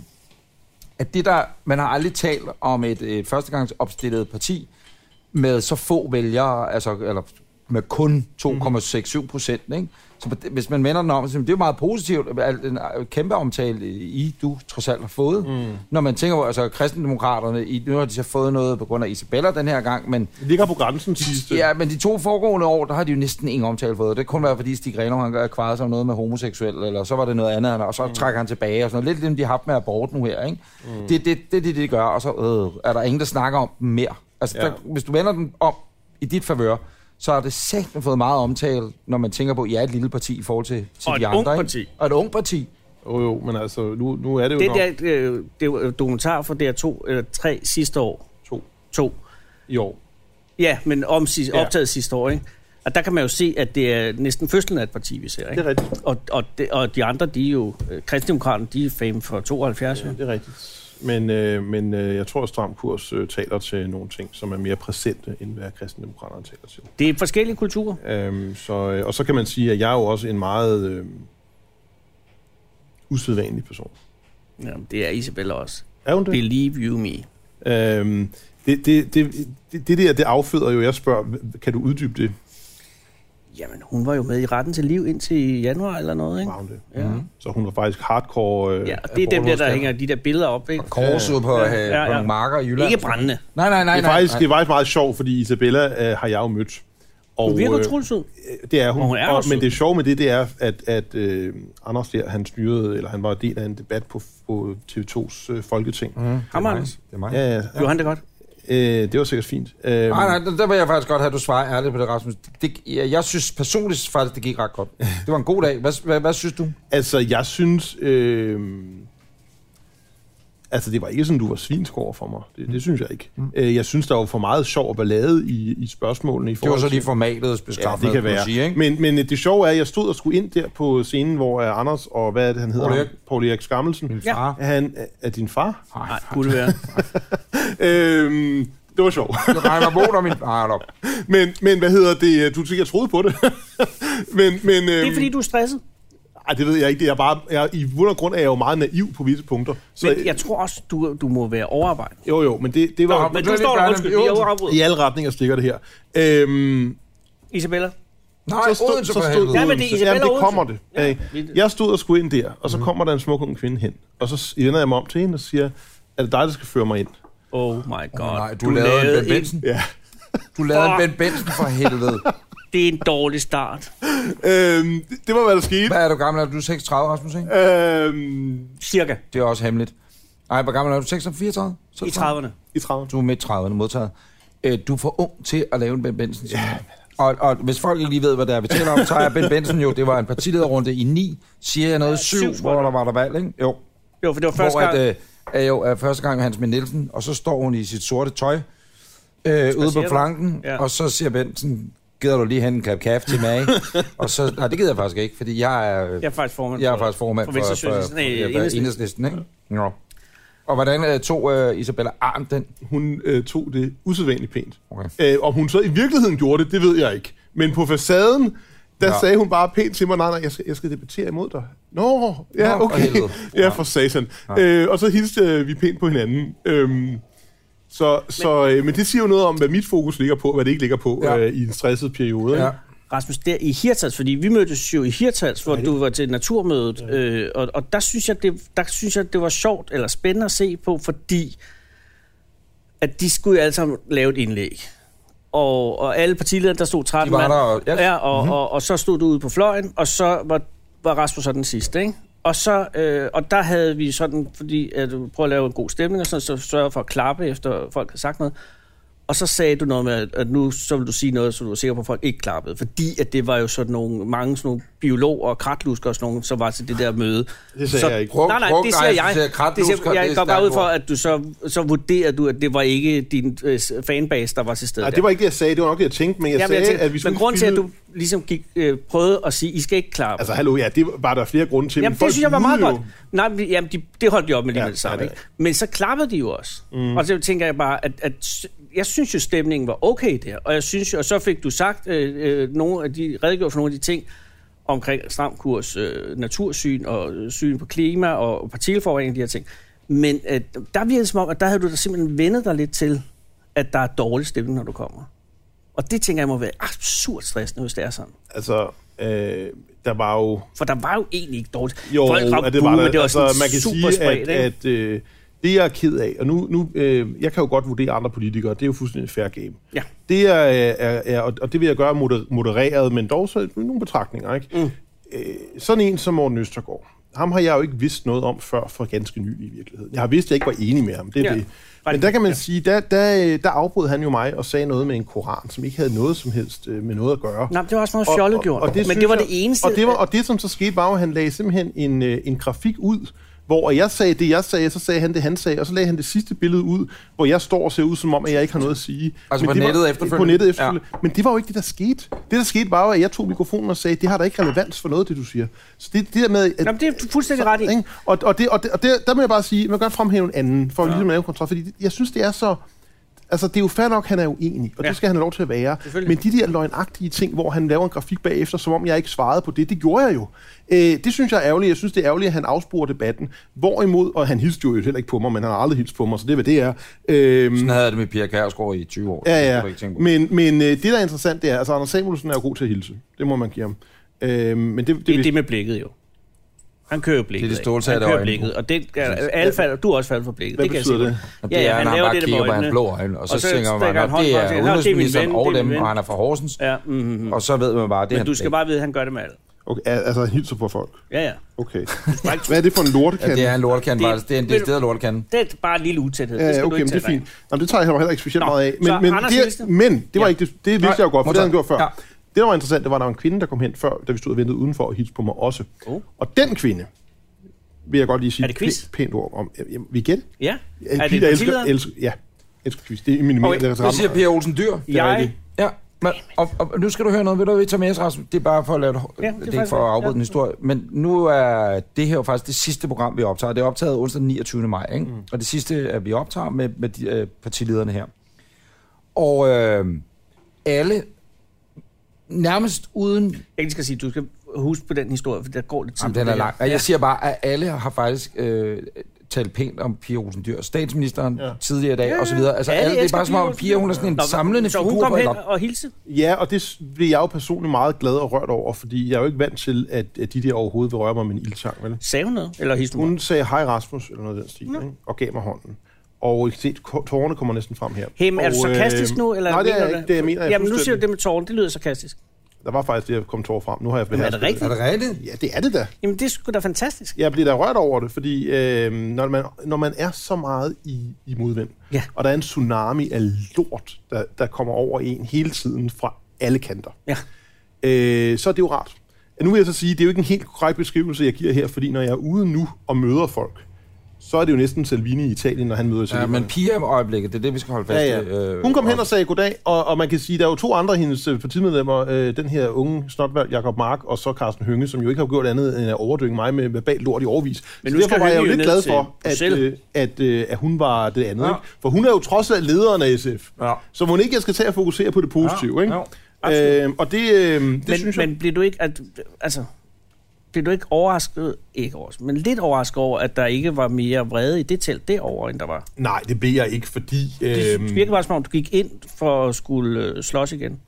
at det der, man har aldrig talt om et, et førstegangsopstillet parti med så få vælgere, altså, eller med kun 2,67 procent, ikke? Så på det- hvis man vender den om, så det er jo meget positivt, al den øh, kæmpe omtale, I, du trods alt har fået. Mm. Når man tænker på, altså kristendemokraterne, I, nu har de så fået noget på grund af Isabella den her gang, men Det ligger på grænsen sidste. Ja, men de to foregående år, der har de jo næsten ingen omtale fået. Det kunne være, fordi Stig Renov, han kvarede sig om noget med homoseksuel, eller så var det noget andet, han- og så mm. trækker han tilbage, og sådan noget. Lidt ligesom de har haft med abort nu her, ikke? Mm. Det er det, det, det, de gør, og så øh, er der ingen, der snakker om dem mere. Altså, Ja. ja. der, hvis du vender den om i dit favør, så har det sagt fået meget omtale, når man tænker på, at I er et lille parti i forhold til, til Og de et andre. ungt ikke? parti. Og et ung parti. Jo, jo, men altså, nu, nu er det jo det nok der øh, det er jo dokumentar fra DR2, eller 3 sidste år, to to, i år. Ja, men om sidst, Ja. optaget sidste år, ikke? Og der kan man jo se, at det er næsten fødslen af et parti, vi ser, Det ikke? er rigtigt. Og, og, de, og de andre, de er jo... øh, Kristdemokraterne, de er fame for 72, ja. Det er rigtigt. Men, øh, men øh, jeg tror, at Stram Kurs øh, taler til nogle ting, som er mere præsente, end hvad kristendemokraterne taler til. Det er forskellige kulturer. Øhm, så, øh, og så kan man sige, at jeg er jo også en meget øh, usædvanlig person. Jamen, det er Isabella også. Er hun det? Believe you me. Øhm, det, det, det, det, det der, det afføder jo, jeg spørger, h- kan du uddybe det? Jamen, hun var jo med i retten til liv indtil januar eller noget, ikke? Var hun det? Ja, Så hun var faktisk hardcore... Øh, ja og det er dem der, der abortmodstander. hænger de der billeder op, ikke? Korset på, ja, Ja, ja, ja, ja. på nogle marker i Jylland. Ikke brændende. Nej, nej, nej. Det er, nej, faktisk, nej. det er faktisk meget sjovt, fordi Isabella øh, har jeg jo mødt. Og, Hun virker øh, utrolig øh, Det er hun. Og hun er og, også men sød. det sjove med det, det er, at, at øh, Anders der, han styrede, eller han var del af en debat på, på TV2's øh, Folketing. Mm. Mm, det er Hammer, mig. Anders. Det er mig. Ja, ja. Johan, det er godt. Øh, det var sikkert fint. Øh, Nej, nej, der- der vil jeg faktisk godt have, at du svarer ærligt på det, Rasmus. Det, jeg, jeg synes personligt faktisk, det gik ret godt. Det var en god dag. Hvad, hvad, hvad synes du? Altså, jeg synes... Øh, altså, det var ikke sådan, du var svinsk over for mig. Det, det synes jeg ikke. Mm. Øh, jeg synes, der var for meget sjov og ballade i, i spørgsmålene. I Det var forhold så til- lige formatet beskaffet, Ja, det kan man være. sige, ikke? Men, men øh, det sjove er, at jeg stod og skulle ind der på scenen, hvor øh, Anders og hvad er det, han hedder? Poul Ham? Erik. Poul Erik Skammelsen. Min far. Han er- er din far? Nej, kunne det være. Øhm, det var sjovt. Reimer Bo, der min far er op. men, men hvad hedder det? Du tænker, jeg troede på det. men, men, Det er fordi, du er stresset. Ej, det ved jeg ikke. Det er bare, jeg, I bund og grund er jeg jo meget naiv på visse punkter. Så, Men jeg tror også, du, du må være overarbejdet. Jo, jo, men det, det var... Nå, Men det er du lidt står der, Bjarne undskyld, Bjørn. vi er overarbejdet. I alle retninger stikker det her. Øhm, Isabella, Nej, så stod, Odense så for stod helvede. Ja, men det er Odense. Isabella Jamen, det Odense. Mhm. kommer det. Ja. Jeg stod og skulle ind der, og så kommer der en smuk ung kvinde hen. Og så vender jeg mig om til hende og siger, er det dig, der skal føre mig ind? Oh my god. Oh, nej, du, du lavede en Ben Benson. Ja. Du lavede en Fuck. Ben Benson for helvede. Det er en dårlig start. Øhm, det, det var, hvad der skete. Hvad er du gammel? Er du 36, Rasmus? Ikke? Øhm, Cirka. Det er også hemmeligt. Ej, hvor gammel er du? 36, 34? I 30'erne. I 30. Du er midt 30'erne modtaget. Øh, Du er for ung til at lave en Ben Benson. Ja, altså- og, og hvis folk ikke lige ved, hvad det er, vi taler om, så er Ben Benson jo, det var en partilederrunde i 9, siger jeg noget, Ja, syv, 7, tror hvor jeg. der var der valg, ikke? Jo, Jo, for det var første hvor gang. at, øh, er jo er første gang med Hans M. Nielsen, og så står hun i sit sorte tøj øh, ude på du? flanken, ja. Ja. og så siger Benson, gider du lige hen en kap kaffe til mig? og så, nej, det gider jeg faktisk ikke, fordi jeg er, Jeg er faktisk formand. jeg er for- faktisk formand for, for for, for, Venstre for, for, Socialisten- nej, for, for Enhedslisten. enhedslisten, ikke? Ja. Og hvordan øh, tog øh, Isabella Arndt den? Hun øh, tog det usædvanligt pænt. Okay. Øh, om hun så i virkeligheden gjorde det, det ved jeg ikke. Men på facaden, der Ja. ja. sagde hun bare pænt til mig, nej, nej, jeg skal, jeg skal debattere imod dig. Nå, Nå, ja, for okay. helvede. ja, for satan. Ja. Øh, og så hilste øh, vi pænt på hinanden. Øhm, så, så, øh, men det siger jo noget om, hvad mit fokus ligger på, og hvad det ikke ligger på Ja. ja. øh, i en stresset periode. Ja. Ja. Rasmus, der i Hirtals, fordi vi mødtes jo i Hirtals, hvor du var til naturmødet, øh, og, og der, synes jeg, det, der synes jeg, det var sjovt eller spændende at se på, fordi at de skulle jo alle sammen lave et indlæg. Og, og alle partilederne, der stod 13 De var mand, der, Mhm. og- yes. ja, og, mm-hmm. og, og så stod du ude på fløjen, og så var, var Rasmus så den sidste, ikke? Og, så, øh, og der havde vi sådan, fordi at du prøver at lave en god stemning, og sådan, så sørge for at klappe, efter folk havde sagt noget. Og så sagde du noget med, at- at nu så vil du sige noget, så du var sikker på, at folk ikke klappede. Fordi at det var jo sådan nogle, mange sådan nogle biologer og kratlusker og sådan nogle, som var til det der møde. Det sagde så, jeg ikke. Brug- nej, nej, brug- det nej, siger jeg jeg. siger det kratlusker, siger, det er jeg går stærkt bare ud for, ord. at du så, så vurderer du, at det var ikke din øh, fanbase, der var til stede Nej, der. det var ikke det, jeg sagde. Det var nok det, jeg tænkte, men jeg Jamen, sagde, jeg tænkte, at vi skulle men grunden til, at spille- du ligesom gik, øh, prøvede at sige, I skal ikke klappe. Altså, hallo, ja, det var der flere grunde til. men Jamen, det folk synes jeg var meget lyder godt. jo. Nej, men, jamen, de, det holdt de op med lige Ja, med det samme. ja, det ikke? er Men så klappede de jo også. Mm. Og så tænker jeg bare, at, at s- jeg synes jo, stemningen var okay der. Og, jeg synes jo, og så fik du sagt, øh, øh, nogle af de, redegjort for nogle af de ting omkring stram kurs, øh, natursyn og øh, syn på klima og partikelforurening, de her ting. Men øh, der virkede det som om, at der havde du da simpelthen vendet dig lidt til, at der er dårlig stemning, når du kommer. Og det tænker jeg må være absurd stressende, hvis det er sådan. Altså, øh, der var jo... For der var jo egentlig ikke dårligt. Jo, ramte at det var buh, der. men det var sådan altså, man kan super sige, spredt, at, ikke? at øh, det, jeg er ked af, og nu, nu øh, jeg kan jo godt vurdere andre politikere, det er jo fuldstændig fair game. Ja. Det er, er, er og og det vil jeg gøre moder- modereret, men dog så med nogle betragtninger, ikke? Mm. Øh, sådan en som Morten Østergaard, ham har jeg jo ikke vidst noget om før for ganske nylig i virkeligheden. Jeg har vidst, at jeg ikke var enig med ham, det er Ja. ja. det. Men der kan man sige, der, der, øh, der afbrød han jo mig og sagde noget med en koran, som ikke havde noget som helst øh, med noget at gøre. Nej, men det var også meget fjollet gjort. men synes det var det jeg- eneste. Og det, var, og det, som så skete, var jo, at han lagde simpelthen en, øh, en grafik ud, hvor jeg sagde det, jeg sagde, så sagde han det, han sagde, og så lagde han det sidste billede ud, hvor jeg står og ser ud, som om, at jeg ikke har noget at sige. Altså på det nettet var, efterfølgende? På nettet efterfølgende. Ja. Men det var jo ikke det, der skete. Det, der skete, var jo, at jeg tog mikrofonen og sagde, det har da ikke relevans for noget, det du siger. Så det, det der med... At, Nå, men det er du fuldstændig ret i. ikke? Og, og, det, og, det, og det, der må jeg bare sige, man kan godt fremhæve en anden, for ja. ligesom at lave en kontrast, fordi det- jeg synes, det er så... Altså, det er jo fair nok, han er uenig, og Ja. det skal han have lov til at være. Men Selvfølgelig. de der løgnagtige ting, hvor han laver en grafik bagefter, som om jeg ikke svarede på det, det gjorde jeg jo. Øh, det synes jeg er ærgerligt. Jeg synes, det er ærgerligt, at han afsporer debatten. Hvorimod, og han hilste jo heller ikke på mig, men han har aldrig hilst på mig, så det er, hvad det er. Øh, Sådan havde jeg det med Pia Kærsgaard i 20 år. Det Ja, kan ja. du ikke tænke på. Men, men øh, det, der er interessant, det er, altså Anders Samuelsen er jo god til at hilse. Det må man give ham. Øh, men det, det, det er vidste- det med blikket jo. Han kører jo blikket. Det er det ikke? stålsatte Han kører øjne. blikket, og det, er- alle falder, du er også faldet for blikket. Hvad det kan betyder jeg se det? på. det er, når han bare det kigger på øjnene. hans blå øjne, og så, Og så tænker man, stikker at han det hånden frem og siger, "Nå, er det er min udenrigsministeren ven, og det er dem, min ven." og han er fra Horsens, Ja, mm-hmm. og så ved man bare, det er Men hans du skal blik. bare vide, at han gør det med alle. Okay, al- altså, han hilser på folk. Ja, ja. Okay. Hvad er det for en lortekant? Ja, det er en lortekande, Det- faktisk. Det er en Ved du- decideret lortekande. Det er bare en lille utæthed. Ja, det skal ja, okay, du men ikke det er tage fint. Nå, men det tager jeg heller ikke specielt Nå, meget af. så Men, men, Anders det, Nielsen? men det var Ja. ikke det, det vidste Nej, jeg jo godt, for det havde han gjort før. Ja. Det, der var interessant, det var, at der var en kvinde, der kom hen før, da vi stod og ventede udenfor og hilste på mig også. Oh. Og den kvinde, vil jeg godt lige sige Er det quiz? pæ- pænt ord om. Jamen, Vi gætter. dig. Ja, er Piger det elsker, partilederen? elsker, ja, elsker quiz. Det er min mere. Okay, det er nu siger ret- Pia Olsen Dyr. er Jeg rigtigt. Ja, men, og, og, nu skal du høre noget, ved du, vi tager med os, Rasmus. Det er bare for at lave det, Ja, det er det, det er ikke faktisk for at det. afbryde ja. Ja. den historie. Men nu er det her jo faktisk det sidste program, vi optager. Det er optaget onsdag den 29. maj, ikke? Mm. og det sidste, øh, vi optager med, med de, øh, partilederne her. Og øh, alle, nærmest uden jeg skal sige, du skal huske på den historie, for der går lidt tid. Jamen, på den er det her. lang. Og jeg siger bare, at alle har faktisk øh, talt pænt om Pia Olsen Dyr. Statsministeren ja. tidligere i dag, ja, og så videre. Altså, ja, alle, det er elsker bare som om, at Pia Olsen Pia, hun er Dyhr. sådan en Nå, samlende Så hun figur. kom på hen eller- og hilse. Ja, og det s- blev jeg jo personligt meget glad og rørt over, fordi jeg er jo ikke vant til, at, at de der overhovedet vil røre mig med en ildtang, vel? Sagde hun noget? Eller hilste hun? Hun sagde, hej Rasmus, eller noget af den stil, ikke? og gav mig hånden. Og I kan se, ko- tårerne kommer næsten frem her. Hey, men er og, øh, du sarkastisk nu? Eller nej, det er mener jeg du ikke. Det jeg mener jeg Jamen, nu siger du fuldstændig. det med tårne. Det lyder sarkastisk. Der var faktisk det, jeg kom tårer frem. Nu har jeg Jamen, er det rigtigt? Er det rigtigt? Ja, det er det da. Jamen, det er sgu da fantastisk. Jeg bliver da rørt over det, fordi øh, når, man, når man er så meget i, i modvind, Ja. og der er en tsunami af lort, der, der kommer over en hele tiden fra alle kanter, Ja. øh, så er det jo rart. Nu vil jeg så sige, det er jo ikke en helt korrekt beskrivelse, jeg giver her, fordi når jeg er ude nu og møder folk, så er det jo næsten Salvini i Italien, når han møder Ja, Salvini. men piger om øjeblikket, det er det, øh, vi skal holde fast Ja, i. ja. Hun kom hen og sagde goddag, og, og man kan sige, der er jo to andre af hendes øh, partimedlemmer, øh, den her unge snotvalg, Jakob Mark, og så Carsten Hønge, som jo ikke har gjort andet end at overdynge mig med verbal lort i overvis. Men Men så nu derfor skal var jeg jo Hønge jo lidt ned glad til for, at, øh, Bruxelles. at, øh, at hun var det andet. Ja. Ja. Ikke? For hun er jo trods alt lederen af SF. Ja. Så må ikke, jeg skal tage at fokusere på det positive. Ja, ikke? jo, øh, og det, øh, det men, synes jeg... men bliver du ikke, at, altså, bliver du ikke overrasket, ikke overrasket, men lidt overrasket over, at der ikke var mere vrede i det telt derovre, end der var? Nej, det blev jeg ikke, fordi... Det øhm, virker bare som om, du gik ind for at skulle øh, slås igen.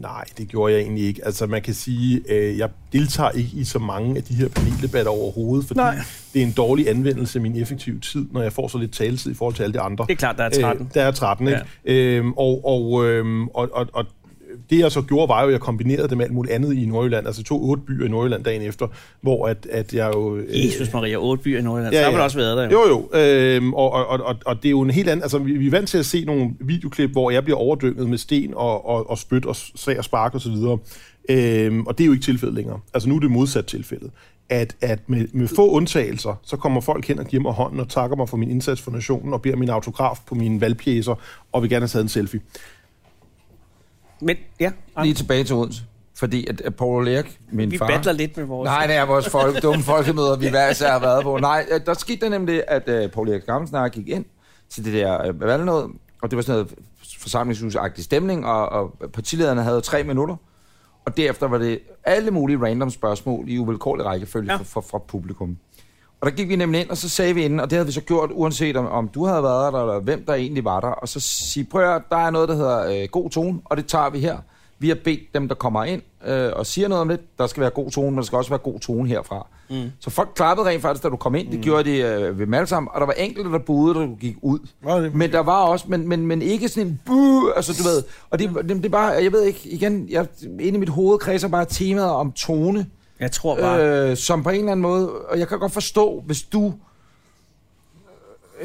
Nej, det gjorde jeg egentlig ikke. Altså, man kan sige, øh, jeg deltager ikke i så mange af de her paneldebatter overhovedet, fordi Nej. Nej. det er en dårlig anvendelse af min effektive tid, når jeg får så lidt taletid i forhold til alle de andre. Det er klart, der er 13. Øh, der er 13, ikke? Ja. Øhm, og, og, øhm, og, og, og det jeg så gjorde, var jo, at jeg kombinerede det med alt muligt andet i Nordjylland. Altså to otte byer i Nordjylland dagen efter, hvor at, at jeg jo... øh, Jesus Maria, otte byer i Nordjylland. Ja, ja. Der har vel også været der. Jo. jo, jo. Øhm, og, og, og, og det er jo en helt anden... Altså, vi, vi er vant til at se nogle videoklip, hvor jeg bliver overdynget med sten og, og, og spyt og sag og spark osv. Og, så øhm, og det er jo ikke tilfældet længere. Altså, nu er det modsat tilfældet. At, at med, med få undtagelser, så kommer folk hen og giver mig hånden og takker mig for min indsats for nationen og beder min autograf på mine valgpjæser og vil gerne have taget en selfie. Men ja, Lige tilbage til Odense. Fordi at, at Paul Erik, min vi far... battler lidt med vores... Nej, det er vores folk, dumme folkemøder, vi hver især har været på. Nej, øh, der skete der nemlig, at øh, Paul Erik Gammelsen gik ind til det der øh, valgnød, og det var sådan noget forsamlingshusagtig stemning, og, og partilederne havde tre minutter, og derefter var det alle mulige random spørgsmål i uvilkårlig rækkefølge ja. Ja. fra, fra, fra publikum. Og der gik vi nemlig ind, og så sagde vi inden, og det havde vi så gjort, uanset om, om du havde været der, eller hvem der egentlig var der, og så sige, prøv at høre, der er noget, der hedder øh, god tone, og det tager vi her. Vi har bedt dem, der kommer ind øh, og siger noget om lidt. Der skal være god tone, men der skal også være god tone herfra. Mm. Så folk klappede rent faktisk, da du kom ind. Mm. Det gjorde de øh, ved dem alle sammen. Og der var enkelte, der buede, da du gik ud. Nå, det er Men der var også, men, men, men ikke sådan en buh, altså du ved. Og det, det, det er bare, jeg ved ikke, igen, jeg, inde i mit hoved kredser bare temaet om tone Jeg tror bare... øh, som på en eller anden måde, og jeg kan godt forstå, hvis du øh,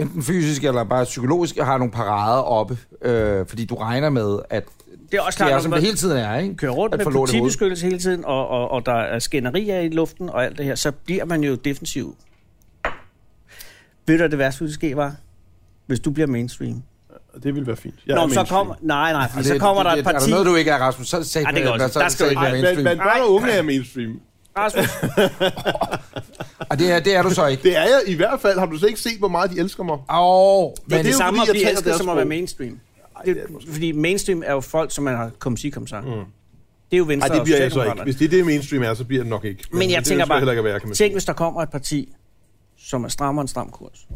enten fysisk eller bare psykologisk har nogle parader oppe, øh, fordi du regner med, at Det er også det klart, er, altså når som man det hele tiden er, ikke? kører rundt at med få lort i hovedet. politibeskyttelse hele tiden, og, og, og der er skænderier i luften og alt det her, så bliver man jo defensiv. Ved du, hvad det værste, der sker, var? Hvis du bliver mainstream. Og Det ville være fint. Jeg Nå, er men så mainstream. Altså, kommer... Nej, nej, fordi Og så det- kommer det- der det- et Er parti... der noget, du ikke er, Rasmus? Så sagde Ej, det kan også- der skal du ikke Ej, men, men børn og unge er mainstream. Rasmus, Og det er, det er du så ikke. Det er jeg i hvert fald. Har du slet ikke set, hvor meget de elsker mig? Åh, det er men det jo samme fordi, at jeg blive taler elsket, deres som at sprog. være mainstream. det er det Det, fordi mainstream er jo folk, som man har kom sig, kom sig. Mm. Det er jo Venstre Nej, det bliver og jeg så ikke. Socialdemokraterne. Hvis det er det, mainstream er, så bliver det nok ikke. Men jeg det tænker ønsker bare, heller ikke at være, kan man sige. tænk hvis der kommer et parti, som er strammer en stram kurs.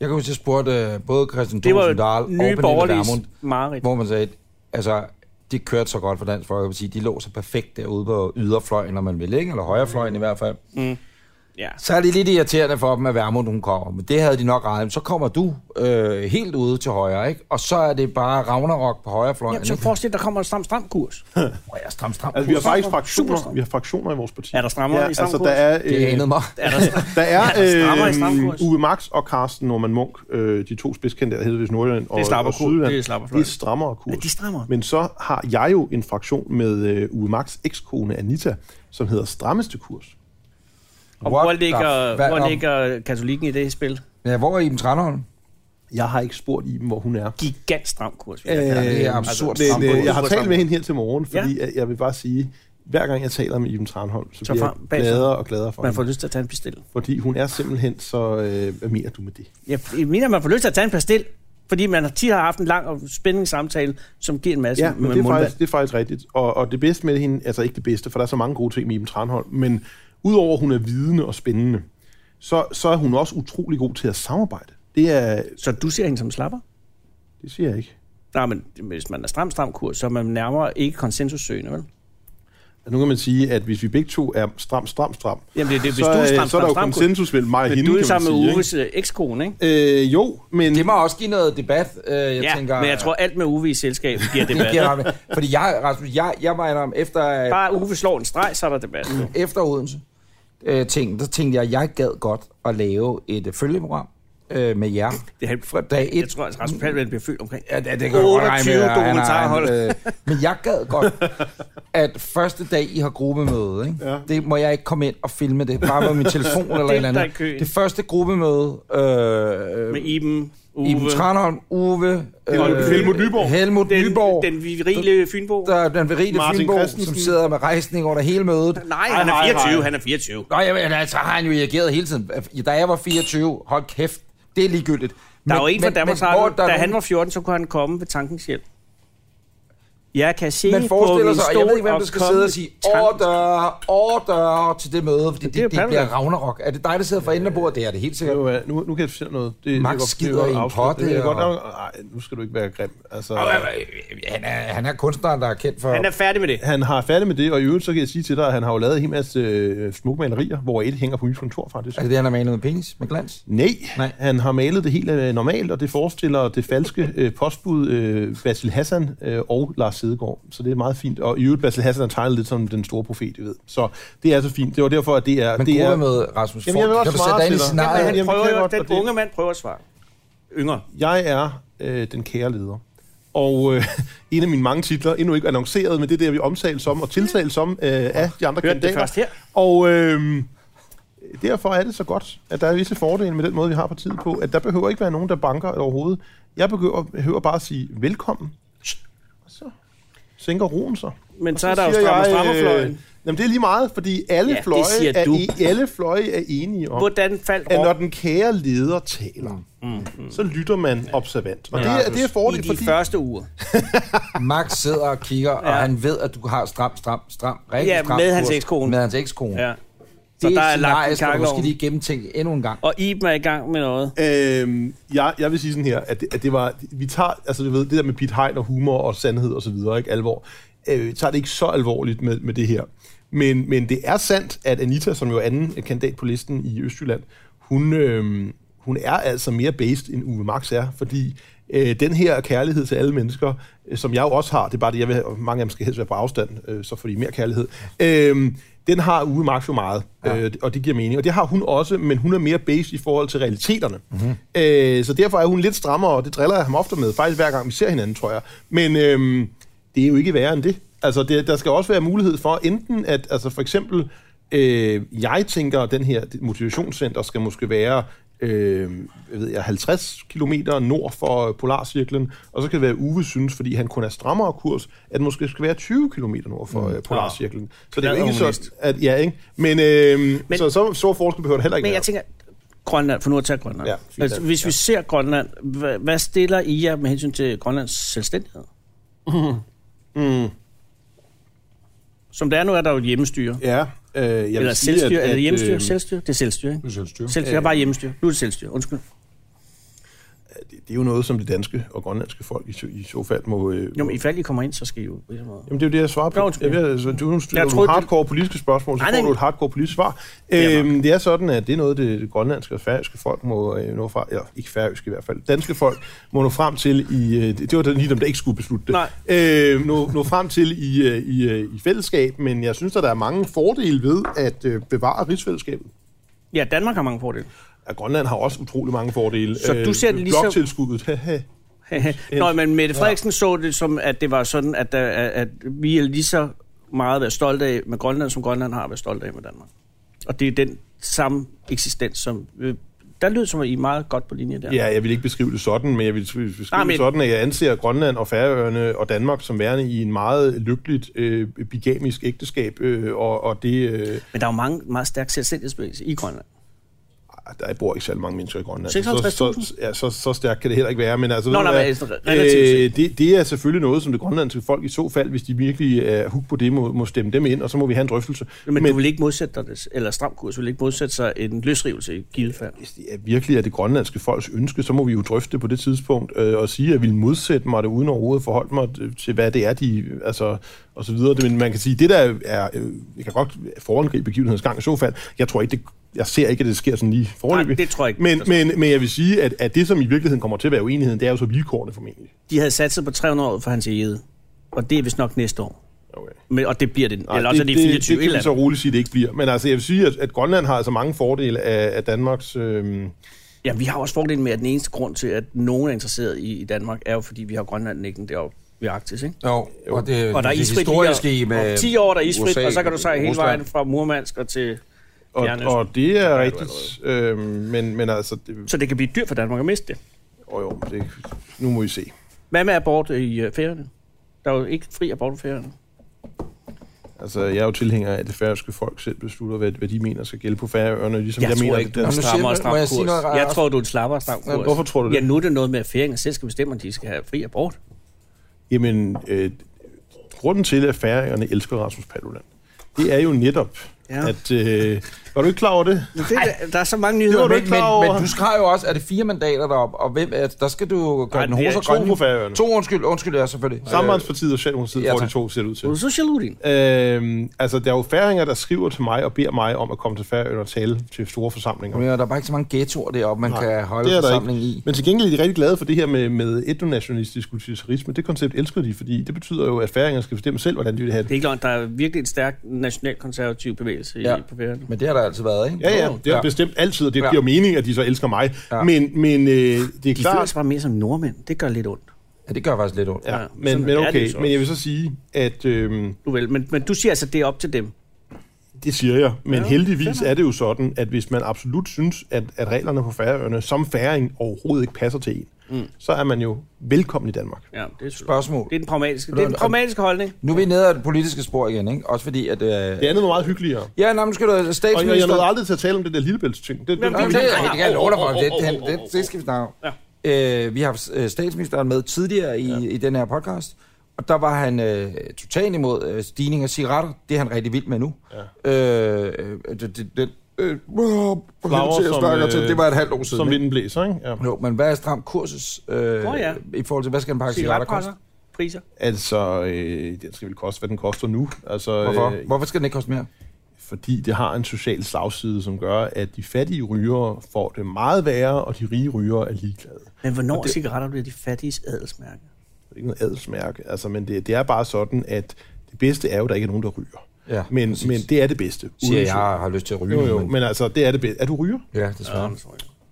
jeg kan huske, jeg spurgte øh, både Christian Det var Thorsen Dahl og jo nye Pernille Vermund, borgerlige mareridt. hvor man sagde, altså, det kørte så godt for Dansk Folkeparti. De lå så perfekt derude på yderfløjen, når man vil, ikke? Eller højrefløjen i hvert fald. Ja. Så er det lidt irriterende for dem, at Værmund hun kommer. Men det havde de nok regnet. Så kommer du øh, helt ude til højre, ikke? Og så er det bare Ragnarok på højrefløjen. Jamen, så ikke? forestil dig, der kommer en stram, stram kurs. Hvor er jeg stram, stram. Altså, vi har kurs. faktisk Super fraktioner, stram. vi har fraktioner i vores parti. Er der strammere i altså, stramkurs? der er, øh, Det anede mig. Er der, der strammere i er, stramkurs? øh, Uwe Max og Carsten Norman Munk, øh, de to spidskendte af Hedvigs Nordjylland og, Det er slapper kurs. og Sydjylland. Det er slapper det er fløjt. strammere kurs. Ja, de er strammere. Men så har jeg jo en fraktion med øh, Uwe Max ekskone Anita, som hedder Strammeste Kurs. Og What hvor the ligger, fa- hvor om- ligger katolikken i det spil? Ja, hvor er Iben Tranholm? Jeg har ikke spurgt Iben, hvor hun er. Gigant stram kurs. Øh, det er absurd men, stramkurs. øh, jeg har Super talt med hende her til morgen, fordi Ja. ja. jeg vil bare sige, hver gang jeg taler med Iben Tranholm, så Så bliver frem- jeg bagfra. gladere og gladere for Man får hende. lyst til at tage en pastil. Fordi hun er simpelthen så... Øh, hvad mener du med det? Jeg mener, man får lyst til at tage en pastil, fordi man har tit har haft en lang og spændende samtale, som giver en masse Ja, men med det er, mundvand. faktisk, det er faktisk rigtigt. Og, og det bedste med hende, altså ikke det bedste, for der er så mange gode ting med Iben Tranholm, men udover at hun er vidende og spændende, så, så er hun også utrolig god til at samarbejde. Det er... Så du ser hende som slapper? Det siger jeg ikke. Nej, men hvis man er stram, stram kurs, så er man nærmere ikke konsensussøgende, vel? Altså, Nu kan man sige, at hvis vi begge to er stram, stram, stram, Jamen, det, er det, hvis så, du er øh, stram, så er stram, der jo stram kurs, konsensus mellem mig og men hende, du er kan man sammen sige. med ikke? Uves øh, ekskone, ikke? Øh, jo, men... Det må også give noget debat, øh, jeg ja, tænker. men jeg tror, alt med Uwe i selskab giver det giver debat. ramme. Fordi jeg, Rasmus, jeg, jeg var om efter, øh, Bare Uwe slår en streg, så er der debat. Mm. efter Odense øh, ting, der tænkte jeg, at jeg gad godt at lave et øh, følgeprogram øh, med jer Det er han- fra dag 1. Jeg tror, at Rasmus Paludan bliver født omkring. Ja, det, det kan jeg godt regne med. 28 at han har en, dokumentarhold. øh, men jeg gad godt, at første dag, I har gruppemøde, ikke? Ja. Ja. det må jeg ikke komme ind og filme det, bare med min telefon eller et der eller er andet. køen. Det første gruppemøde, øh, Med med Iben, Uwe, Iben Tranholm, Uwe, øh, var Helmut Nyborg. Helmut den, Nyborg, den virile Fynbo. der er den verige Martin Fynbo, som Christensen. sidder med rejsning under hele mødet. Nej, han er Ej, ej, ej. 24, han er 24. Nå, jamen, altså har han jo reageret hele tiden. Da jeg var 24, hold kæft, det er ligegyldigt. Der er Men- jo en fra men- Danmarks men hvor Radio, der er da nogen- han var 14, så kunne han komme ved tankens hjælp. Jeg kan se Man på forestiller min sig, stol jeg ved ikke, hvem der og skal komme sidde og ved sige, tanken- order, order til det møde, fordi det, er jo det, det bliver Paludan. Ragnarok. Er det dig, der sidder for enden af bordet? Det er det helt sikkert. Nu, er- øh, nu, nu kan jeg fortælle noget. Det, Max det er godt- skider det er godt i en afsløret. potte, Det er og- godt nok... Nej, nu skal du ikke være grim. Altså, Og, øh, Han er, han er kunstneren, der er kendt for... Han er færdig med det. han har færdig med det, og i øvrigt så kan jeg sige til dig, at han har jo lavet en hel masse øh, smukke malerier, hvor et hænger på mit kontor faktisk. Er det det, han har malet med penis? Med glans? Nej, Nej. Nej, han har malet det helt øh, normalt, og det forestiller det falske øh, postbud øh, Basil Hassan øh, og Lars Hedegaard. Så det er meget fint. Og i øvrigt, Basil Hassan er tegnet lidt som den store profet, I ved. Så det er så fint. Det var derfor, at det er... Men det gruppe er, med Rasmus Jamen, jeg vil Ford. også Kan du sætte svare dig ind i til dig. scenariet? Jamen, Han det prøver kan jeg jo, godt, den og det- unge mand prøver at svare. Yngre. Jeg er øh, den kære leder. Og øh, en af mine mange titler, endnu ikke annonceret, men det er det, vi omtales om og tiltales om øh, af de andre Hørte det kandidater. først her. Og øh, derfor er det så godt, at der er visse fordele med den måde, vi har partiet på, at der behøver ikke være nogen, der banker overhovedet. Jeg behøver, behøver bare at sige velkommen, og så sænker roen sig. Men Og så er der jo siger strammer- jeg, øh, strammerfløjen. Jamen, det er lige meget, fordi alle, Ja, det fløje, siger er, du. i, alle fløje er enige om, Hvordan faldt at når Rom den kære leder taler, mm. så lytter man observant. Og Men det er, Rasmus, det er i fordel, de fordi... første uger? Max sidder og kigger, og Ja. han ved, at du har stram, stram, stram, rigtig Ja, stram med hans kurs. ekskone. Med hans ekskone. Ja. Det Så er der et er lagt scenarie, en skal du måske kakkelovn. lige gennemtænke endnu en gang. Og Iben er i gang med noget. Øhm, jeg, jeg vil sige sådan her, at det, at det var, vi tager, altså du ved, det der med Pete Hein og humor og sandhed og så videre, ikke alvor, øh, vi tager det ikke så alvorligt med, med det her. Men, men det er sandt, at Anita, som jo er anden kandidat på listen i Østjylland, hun, øh, hun er altså mere based, end Uwe Max er, fordi øh, den her kærlighed til alle mennesker, øh, som jeg jo også har, det er bare det, jeg vil have, og mange af dem skal helst være på afstand, øh, så får de mere kærlighed, øh, den har Uwe Max jo meget, ja. øh, og det giver mening. Og det har hun også, men hun er mere based i forhold til realiteterne. Mm-hmm. Øh, så derfor er hun lidt strammere, og det driller jeg ham ofte med, faktisk hver gang vi ser hinanden, tror jeg. Men øh, det er jo ikke værre end det. Altså, det, der skal også være mulighed for, enten at, altså for eksempel, øh, jeg tænker, at den her motivationscenter skal måske være øh, jeg ved jeg, 50 km nord for øh, Polarcirklen, og så kan det være, at Uwe synes, fordi han kun er strammere kurs, at det måske skal være 20 km nord for øh, Polarcirklen. Så det er Der jo Mm. er ikke humanist. så, at, ja, ikke? Men, øh, Men- men så, så stor forskel behøver det heller ikke Men være. jeg tænker, Grønland, for nu at tage Grønland. Ja, fint. altså, hvis vi ser Grønland, hvad, hvad stiller I jer med hensyn til Grønlands selvstændighed? Mm. Mm. Som det er nu, er der jo et hjemmestyre. ja, øh, jeg vil Eller sige, selvstyre. at- er det at, hjemmestyre? øh, selvstyre? Det er selvstyre, ikke? Selvstyre. Selvstyre er bare hjemmestyre. Nu er det selvstyre. Undskyld. det, det er jo noget, som det danske og grønlandske folk i, så- i så fald må... Øh, Jo, men i fald I kommer ind, så skal I jo... på den måde. Jamen, det er jo det, jeg svarer på. Nå, Nå, undskyld. jeg ved, altså, du, nu stiller Jeg jeg troede, nogle det- hardcore politiske spørgsmål, så Nej, nej, får nej. du et hardcore politisk svar. er Øhm, det er sådan, at det er noget, det, det grønlandske og færøske folk må øh, nå frem, eller ikke færøske i hvert fald, danske folk må nå frem til i, øh, det det var da lige dem, der ikke skulle beslutte det, Nej. Øh, nå, nå frem til i, øh, i, øh, i fællesskab, men jeg synes, at der er mange fordele ved at øh, bevare rigsfællesskabet. Ja, Danmark har mange fordele. Ja, Grønland har også utrolig mange fordele. Øh, Så du ser det lige så- Bloktilskuddet, haha. Nå, men Mette Frederiksen ja. så det som, at det var sådan, at, der, at at vi er lige så meget været stolte af med Grønland, som Grønland har været stolte af med Danmark. Og det er den samme eksistens, som... Øh, der lød som, at I er meget godt på linje der. Ja, jeg vil ikke beskrive det sådan, men jeg vil beskrive Nej, Nej, men- men... det sådan, at jeg anser Grønland og Færøerne og Danmark som værende i en meget lykkeligt øh, bigamisk ægteskab, øh, og, og det... Øh, Men der er jo mange, meget stærk selvstændighedsbevægelse i Grønland. ej, der bor ikke særlig mange mennesker i Grønland. 56.000? Så, så, ja, så, så stærkt kan det heller ikke være, men altså... Nå, ved du nej, men hvad, øh, altså, relativt set. det, det er selvfølgelig noget, som det grønlandske folk i så fald, hvis de virkelig er hug på det, må, må stemme dem ind, og så må vi have en drøftelse. Men, men du vil ikke modsætte dig, det, eller stram kurs vil ikke modsætte sig en løsrivelse i givet fald. hvis det er virkelig er det grønlandske folks ønske, så må vi jo drøfte det på det tidspunkt, øh, og sige, at jeg vil modsætte mig det, uden overhovedet forholde mig øh, til, hvad det er, de, øh, altså, og så videre. Men man kan sige, det der er, øh, jeg kan godt forangribe begivenhedens gang i så fald, jeg tror ikke, det, jeg ser ikke, at det sker sådan lige foreløbig. Nej, det tror jeg ikke, Men, der men, men jeg vil sige, at, at det, som i virkeligheden kommer til at være uenigheden, det er jo så vilkårene formentlig. De havde satset på 300 år for hans ejede, og det er vist nok næste år. Okay. Men, og det bliver det, Nej, eller også er det, i 24 det, det, det kan eller vi så roligt sige, det ikke bliver. Men altså, jeg vil sige, at, at Grønland har altså mange fordele af, af Danmarks... Øh, Ja, vi har også fordelen med, at den eneste grund til, at nogen er interesseret i, i Danmark, er jo, fordi vi har Grønland ikke deroppe ved Arktis, ikke? Jo, og det, Og der er det isfrit historiske i lige med om 10 år, der er isfrit, USA, og så kan du sejle hele Rusland. vejen fra Murmansk og til Og, Fjernøsten. og det er rigtigt, øh, men, men altså, det, Så det kan blive dyrt for Danmark at miste det. oh, jo, det, nu må vi se. Hvad med abort i øh, ferierne? Der er jo ikke fri abort på ferierne. Altså, jeg er jo tilhænger af, at det færøske folk selv beslutter, hvad, hvad de mener skal gælde på færøerne, ligesom jeg, Jeg tror mener, ikke, at du det Jamen, danske... nu siger- Strammer og stram må jeg kurs. sige noget rart? Jeg tror, du er en slapper og stram kurs. Hvorfor tror du det? Ja, nu er det noget med, at ferierne selv skal bestemme, om de skal have fri abort. Jamen, øh, grunden til, at færingerne elsker Rasmus Paludan, det er jo netop, Ja. ja. at... Øh, var du ikke klar over det? Ej, der er så mange Det var nyheder. du Men, ikke klar men, over. men du skrev jo også, at det er fire mandater deroppe, og hvem, er- der skal du gøre Nej, den det er hose og to grønne. på Færøerne. To, undskyld, undskyld, ja, selvfølgelig. Øh, Sambandspartiet og Socialdemokratiet Ja, ja, får tak. de to ser det ud til. Du er så jaloux, din. Øhm, altså, der er jo færinger, der skriver til mig og beder mig om at komme til Færøerne og tale til store forsamlinger. Øh, ja, der er bare ikke så mange ghettoer deroppe, man Nej, kan holde det er der forsamlingen i. Men til gengæld er de rigtig glade for det her med, med etnonationalistisk utilitarisme. Det koncept elsker de, fordi det betyder jo, at færinger skal bestemme selv, hvordan de vil have Det er det. ikke løgn, der er virkelig en stærk nationalkonservativ bevægelse ja. Ja. i, på ferierne. Men det har der altid været, ikke? Ja, ja, det er Ja. bestemt altid, og det Ja. giver mening, at de så elsker mig. Ja. Men, men øh, det er De føler klart, sig bare mere som nordmænd. Det gør lidt ondt. Ja, det gør faktisk lidt ondt. Ja, Ja, men, sådan men er det okay, så. men jeg vil så sige, at øhm, Du vel. Men, men du siger altså, det er op til dem. det siger jeg, men Ja, ja, heldigvis fair nok. er det jo sådan, at hvis man absolut synes, at, at reglerne på færøerne som færing overhovedet ikke passer til en, mm. så er man jo velkommen i Danmark. Ja, det er selvfølgelig- Spørgsmål. Det er den pragmatiske, det er den Og- pragmatiske holdning. Nu er vi nede af det politiske spor igen, ikke? Også fordi, at... Øh... Det andet var meget hyggeligere. Ja, nå, men skal du Og jeg, jeg statsminister... nåede aldrig til at tale om det der lillebæltsting. Det, det, Nå, men det- det, det kan jeg love dig for. Det, det, det, det skal vi snakke om. Ja. Øh, vi har haft øh, statsministeren med tidligere i, ja. i den her podcast, og der var han øh, totalt imod øh, stigning af cigaretter. Det er han rigtig vild med nu. Ja. Øh, øh, det, det, det, øh, øh, Flagrer som, som, snakker til, øh, det var et halvt år siden. som ikke? vinden blæser, ikke? Ja. Jo, men hvad er stram kursus øh, Nå ja. i forhold til, hvad skal en pakke cigaretter koste? Cigaretpakker, priser. Altså, øh, den skal vel koste, hvad den koster nu. Altså, Hvorfor? Øh, Hvorfor skal den ikke koste mere? fordi det har en social slagside, som gør, at de fattige rygere får det meget værre, og de rige rygere er ligeglade. Men hvornår det... cigaretter bliver de fattiges adelsmærke? Det er ikke noget adelsmærke, altså, men det, det er bare sådan, at det bedste er jo, at der ikke er nogen, der ryger. Ja, men, præcis. men det er det bedste. Siger uden jeg, tvivl. jeg har lyst til at ryge. Jo, jo, men- men altså, det er det bedste. Er du ryger? Ja, desværre.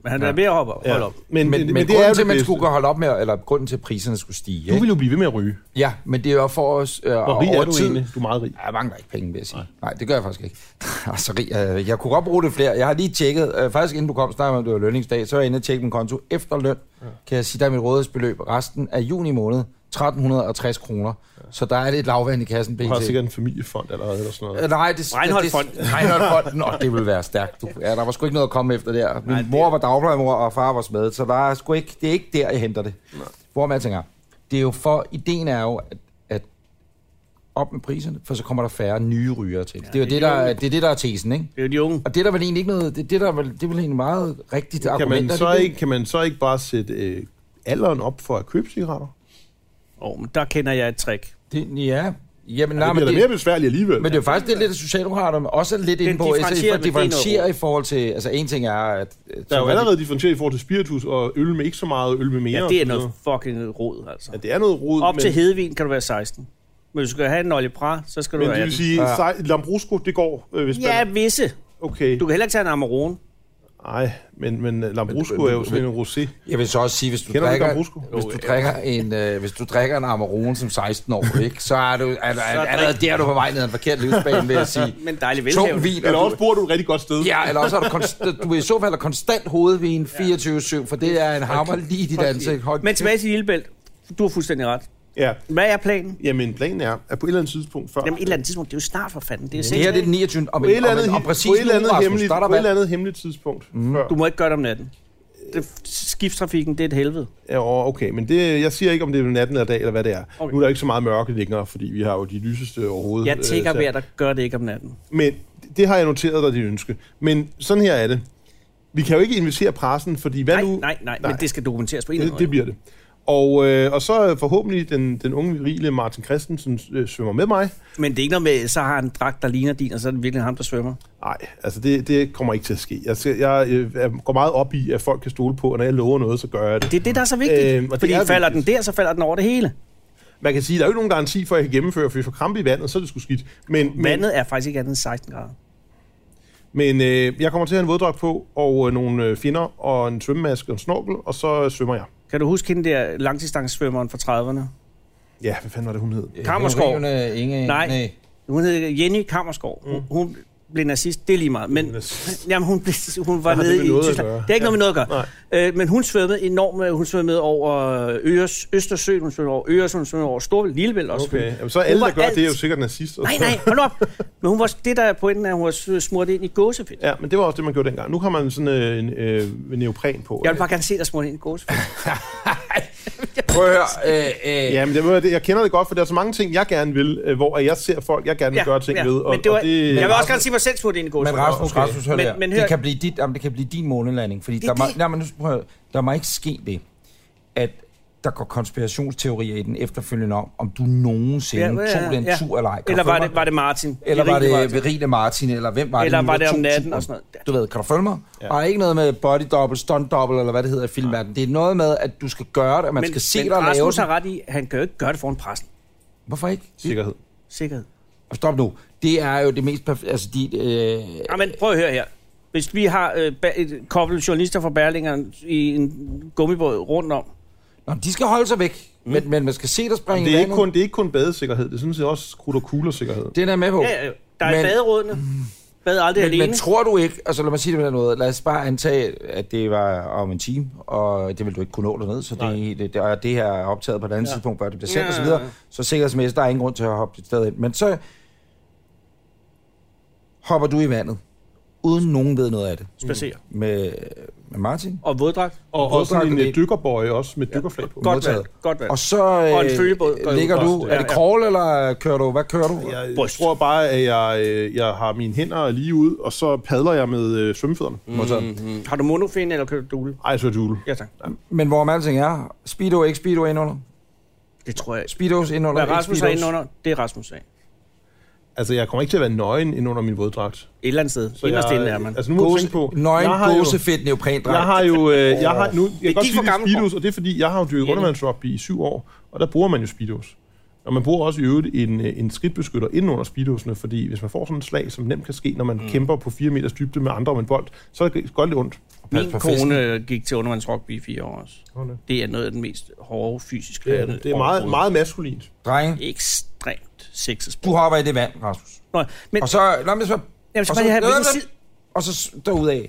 Men han er ved at hoppe op. Hold op. Men, men, men, men det er grunden jo til, at det man bedste. skulle holde op med, eller grunden til, at priserne skulle stige. Du ikke? vil jo blive ved med at ryge. Ja, men det er jo for os øh, Hvor rig over er du tid. egentlig? Du er meget rig. Jeg mangler ikke penge, vil jeg sige. Nej, Nej det gør jeg faktisk ikke. altså, rig, øh, jeg kunne godt bruge det flere. Jeg har lige tjekket, øh, faktisk inden du kom, snakkede om, at det var lønningsdag, så var jeg inde og tjekke min konto efter løn. Ja. Kan jeg sige, der er mit rådighedsbeløb resten af juni måned, 1360 kroner. Ja. Så der er lidt lavvand i kassen, Du har pt. sikkert en familiefond allerede, eller sådan noget. Øh, Nej, det, Reinholdfonden. det- Reinholdfonden, og det ville være stærkt. Du. Ja, der var sgu ikke noget at komme efter der. Min Nej, mor var dagplejemor, og far var smed, så der er sgu ikke, det er ikke der, jeg henter det. Nej. Hvor man tænker, det er jo for, ideen er jo, at, at op med priserne, for så kommer der færre nye rygere til. Ja, det er jo det, det det, er der, jo- det, er det, der er tesen, ikke? Det er jo de unge. Og det er der vel egentlig ikke noget, det, det er der vel, det er vel egentlig meget rigtigt Kan argument. man, er det så det? ikke, kan man så ikke bare sætte øh, alderen op for at købe cigaretter? Åh, men der kender jeg et trick. Det, ja, jamen, nej, men det bliver da det, mere besværligt alligevel. Men det er jo faktisk det, lidt, at Socialdemokraterne også er lidt inde på, altså, differentierer med differentierer benene. i forhold til, altså en ting er, at... der er jo allerede differentieret i forhold til spiritus og øl med ikke så meget, øl med mere. Ja, det er og sådan noget fucking rod, altså. Ja, det er noget rod, Op men, til Hedvin kan du være 16. Men hvis du skal have en oljepra, så skal du men være det 18. vil sige, Ja. ja. Lambrusco, det går, øh, hvis Ja, man... visse. Okay. Du kan heller ikke tage en Amarone. Nej, men, men øh, Lambrusco Men- er jo men- sådan en rosé. Jeg vil så også sige, hvis du Kender du drikker, Lambrusco? hvis du drikker en, øh, hvis du drikker en Amarone som 16 år, ikke, så er du er, er, er, allerede der, er du på vej ned ad en forkert livsbane, vil jeg sige. Men dejlig Tung velhavende. vin. Eller og også du- bor du et rigtig godt sted. Ja, eller også er du, konst, du er i så fald er konstant hovedvin 24-7, for det er en hammer lige i dit ansigt. Hold, Men tilbage til Lillebælt. Du har fuldstændig ret. ja. Hvad er planen? Jamen, planen er, at på et eller andet tidspunkt før... Jamen et eller andet tidspunkt, det er jo snart for fanden. Det er det her det er det den 29. Om, på et en, eller om, andet, en, om he- præcis på et eller nu, andet, Rasmus, hemmeligt, der er der på et eller valg. Mhm. andet hemmeligt tidspunkt mm. før. Du må ikke gøre det om natten. Det, skibstrafikken, det er et helvede. Ja, okay, men det, jeg siger ikke, om det er natten eller dag, eller hvad det er. Okay. Okay. Nu er der ikke så meget mørke længere, fordi vi har jo de lyseste overhovedet. øh, Jeg tænker så- ved, at der gør det ikke om natten. Men det har jeg noteret dig, dit ønske. Men sådan her er det. Vi kan jo ikke invitere pressen, fordi hvad Nej, nu... nej, nej, men det skal dokumenteres på en eller det, anden det måde. bliver det. Og, øh, og så øh, forhåbentlig den, den unge, virile Martin Christensen øh, svømmer med mig. Men det er ikke noget med, så har han en dragt, der ligner din, og så er det virkelig ham, der svømmer. Nej, altså det, det kommer ikke til at ske. Jeg, skal, jeg, øh, jeg går meget op i, at folk kan stole på, og når jeg lover noget, så gør jeg det. Det er det, der er så vigtigt. Øhm, og det fordi er falder vigtigt. den der, så falder den over det hele. Man kan sige, der er jo ikke nogen garanti for, at jeg kan gennemføre, for hvis jeg får krampe i vandet, så er det sgu skidt. Men, men, Vandet er faktisk ikke andet end 16 grader. Men øh, jeg kommer til at have en vådddrag på, og øh, nogle øh, finder, og en svømmemaske og en snorkel, og så øh, svømmer jeg. Kan du huske hende der langdistancesvømmeren fra 30'erne? Ja, hvad fanden var det, hun hed? Øh, Kammerskov. Henrivende Inge, Nej. nej. Hun hed Jenny Kammerskov. Mm. Hun, hun blev nazist, det er lige meget. Men Hun hun, er s- jamen, hun, blev, hun var Hvad har nede det med i noget at Tyskland. gøre? Det er ikke Ja. noget med noget at gøre. Nej. Øh, men hun svømmede enormt. Hun svømmede over Øres, Østersøen, hun svømmede over Øres, hun svømmede over Storbælt, Lillebælt også. Okay, Jamen, så Hun alle, var der gør alt. det, er jo alt. sikkert nazister. Nej, nej, hold op. Men hun var, det der er pointen, er, at hun var smurt ind i gåsefedt. Ja, men det var også det, man gjorde dengang. Nu har man sådan øh, en øh, neopren på. Jeg vil bare gerne se dig smurt ind i gåsefedt. Prøv at høre, øh, øh, Ja, men det, må jeg- det- jeg kender det godt, for der er så mange ting, jeg gerne vil, øh, hvor jeg ser folk, jeg gerne vil ja, gøre ting ved. Og, men det var, og det, jeg vil også gerne se mig selv smurt ind i gåsefedt. Men Rasmus, okay. Rasmus, hør Men- men, men men hør- det, kan blive dit, jamen, det kan blive din månelanding, fordi Det det, er der, må, det. nej, men, nu skal- prøv at høre. der må ikke ske det, at der går konspirationsteorier i den efterfølgende om, om du nogensinde ja, ja, ja. tog den ja. tur eller ej. Kan du Eller følge var mig? det, var det Martin? eller var Rige det Martin? Verine Martin, eller hvem var Eller det? nu, var der det om tog natten turen? og sådan noget? Du ved, kan du følge mig? Ja. Ja. Og der er ikke noget med body double, stunt double, eller hvad det hedder i filmverdenen. Det er noget med, at du skal gøre det, og man skal se men dig og lave Rasmus har det. ret i, at han kan jo ikke gøre det foran pressen. Hvorfor ikke? Sikkerhed. Sikkerhed. Og Stop nu. Det er jo det mest perfekte. Altså, de, øh, Ja, men prøv at høre her. Hvis vi har øh, ba- et kobbel journalister fra Berlingeren i en gummibåd rundt om, nå, de skal holde sig væk, mm. men, men man skal se dig springe Det i er, ikke vandet. kun, det er ikke kun badesikkerhed, det er sådan set også krudt og kuglersikkerhed. Det er jeg med på. ja, ja, der er Men- baderådene. Bad aldrig Men, alene. men tror du ikke, altså lad mig sige det på den måde, lad os bare antage, at det var om en time, og det vil du ikke kunne nå derned, så det, det, det, og det her er optaget på et andet ja. tidspunkt, før det bliver sendt Ja, ja, ja, osv., så, ja. videre. så sikkerhedsmæssigt, der er ingen grund til at hoppe et sted ind. Men så hopper du i vandet, uden nogen ved noget af det, Spacerer. med, med Martin. Og våddragt. Og, og sådan en Våddragten, øh, dykkerbøje også med dykkerflag på. Godt modtaget. valg. Godt valg. Og så øh, en følgebåd går ligger ud du, også. er det Ja, ja. crawl, eller kører du, hvad kører du? Jeg Bryst. Bryst. tror bare, at jeg, øh, jeg har mine hænder lige ud, og så padler jeg med øh, svømmefødderne. Mm. Mm. Har du monofin eller kører du dule? Ej, så er det jule. Ja, tak. Men hvor alting er, speedo, ikke speedo indenunder? Det tror jeg ikke. Speedos indenunder, Hvad ikke Rasmus er speedos? inde under, det er Rasmus sag. Et Altså, jeg kommer ikke til at være nøgen ind under min våddragt. eller andet sted. Så Inderst jeg- inde er man. Altså, nu må du Gåse, tænke på... jeg nøgen har jo- gåsefedt neoprendragt. Jeg har jo... Øh, jeg har, nu, jeg kan godt gik sige, for det er gammelt speedos, og det er fordi, jeg har jo dyrket Enig. undervandsrugby i syv år, og der bruger man jo speedos. Og man bruger også i øvrigt en, øh, en skridtbeskytter ind under speedosene, fordi hvis man får sådan et slag, som nemt kan ske, når man mm. kæmper på 4 meters dybde med andre om en bold, så er det godt lidt ondt. Min på kone øh, gik til undervandsrugby i fire år også. Det er noget af den mest hårde fysiske Det er, det er meget, meget maskulint. Drenge, ekstremt sexet du sport. hopper i det vand, Rasmus. Nå, men Og så, lad mig så... Jamen, så og bare lige have, Øh, hvilken øh, side- og så s- derudad.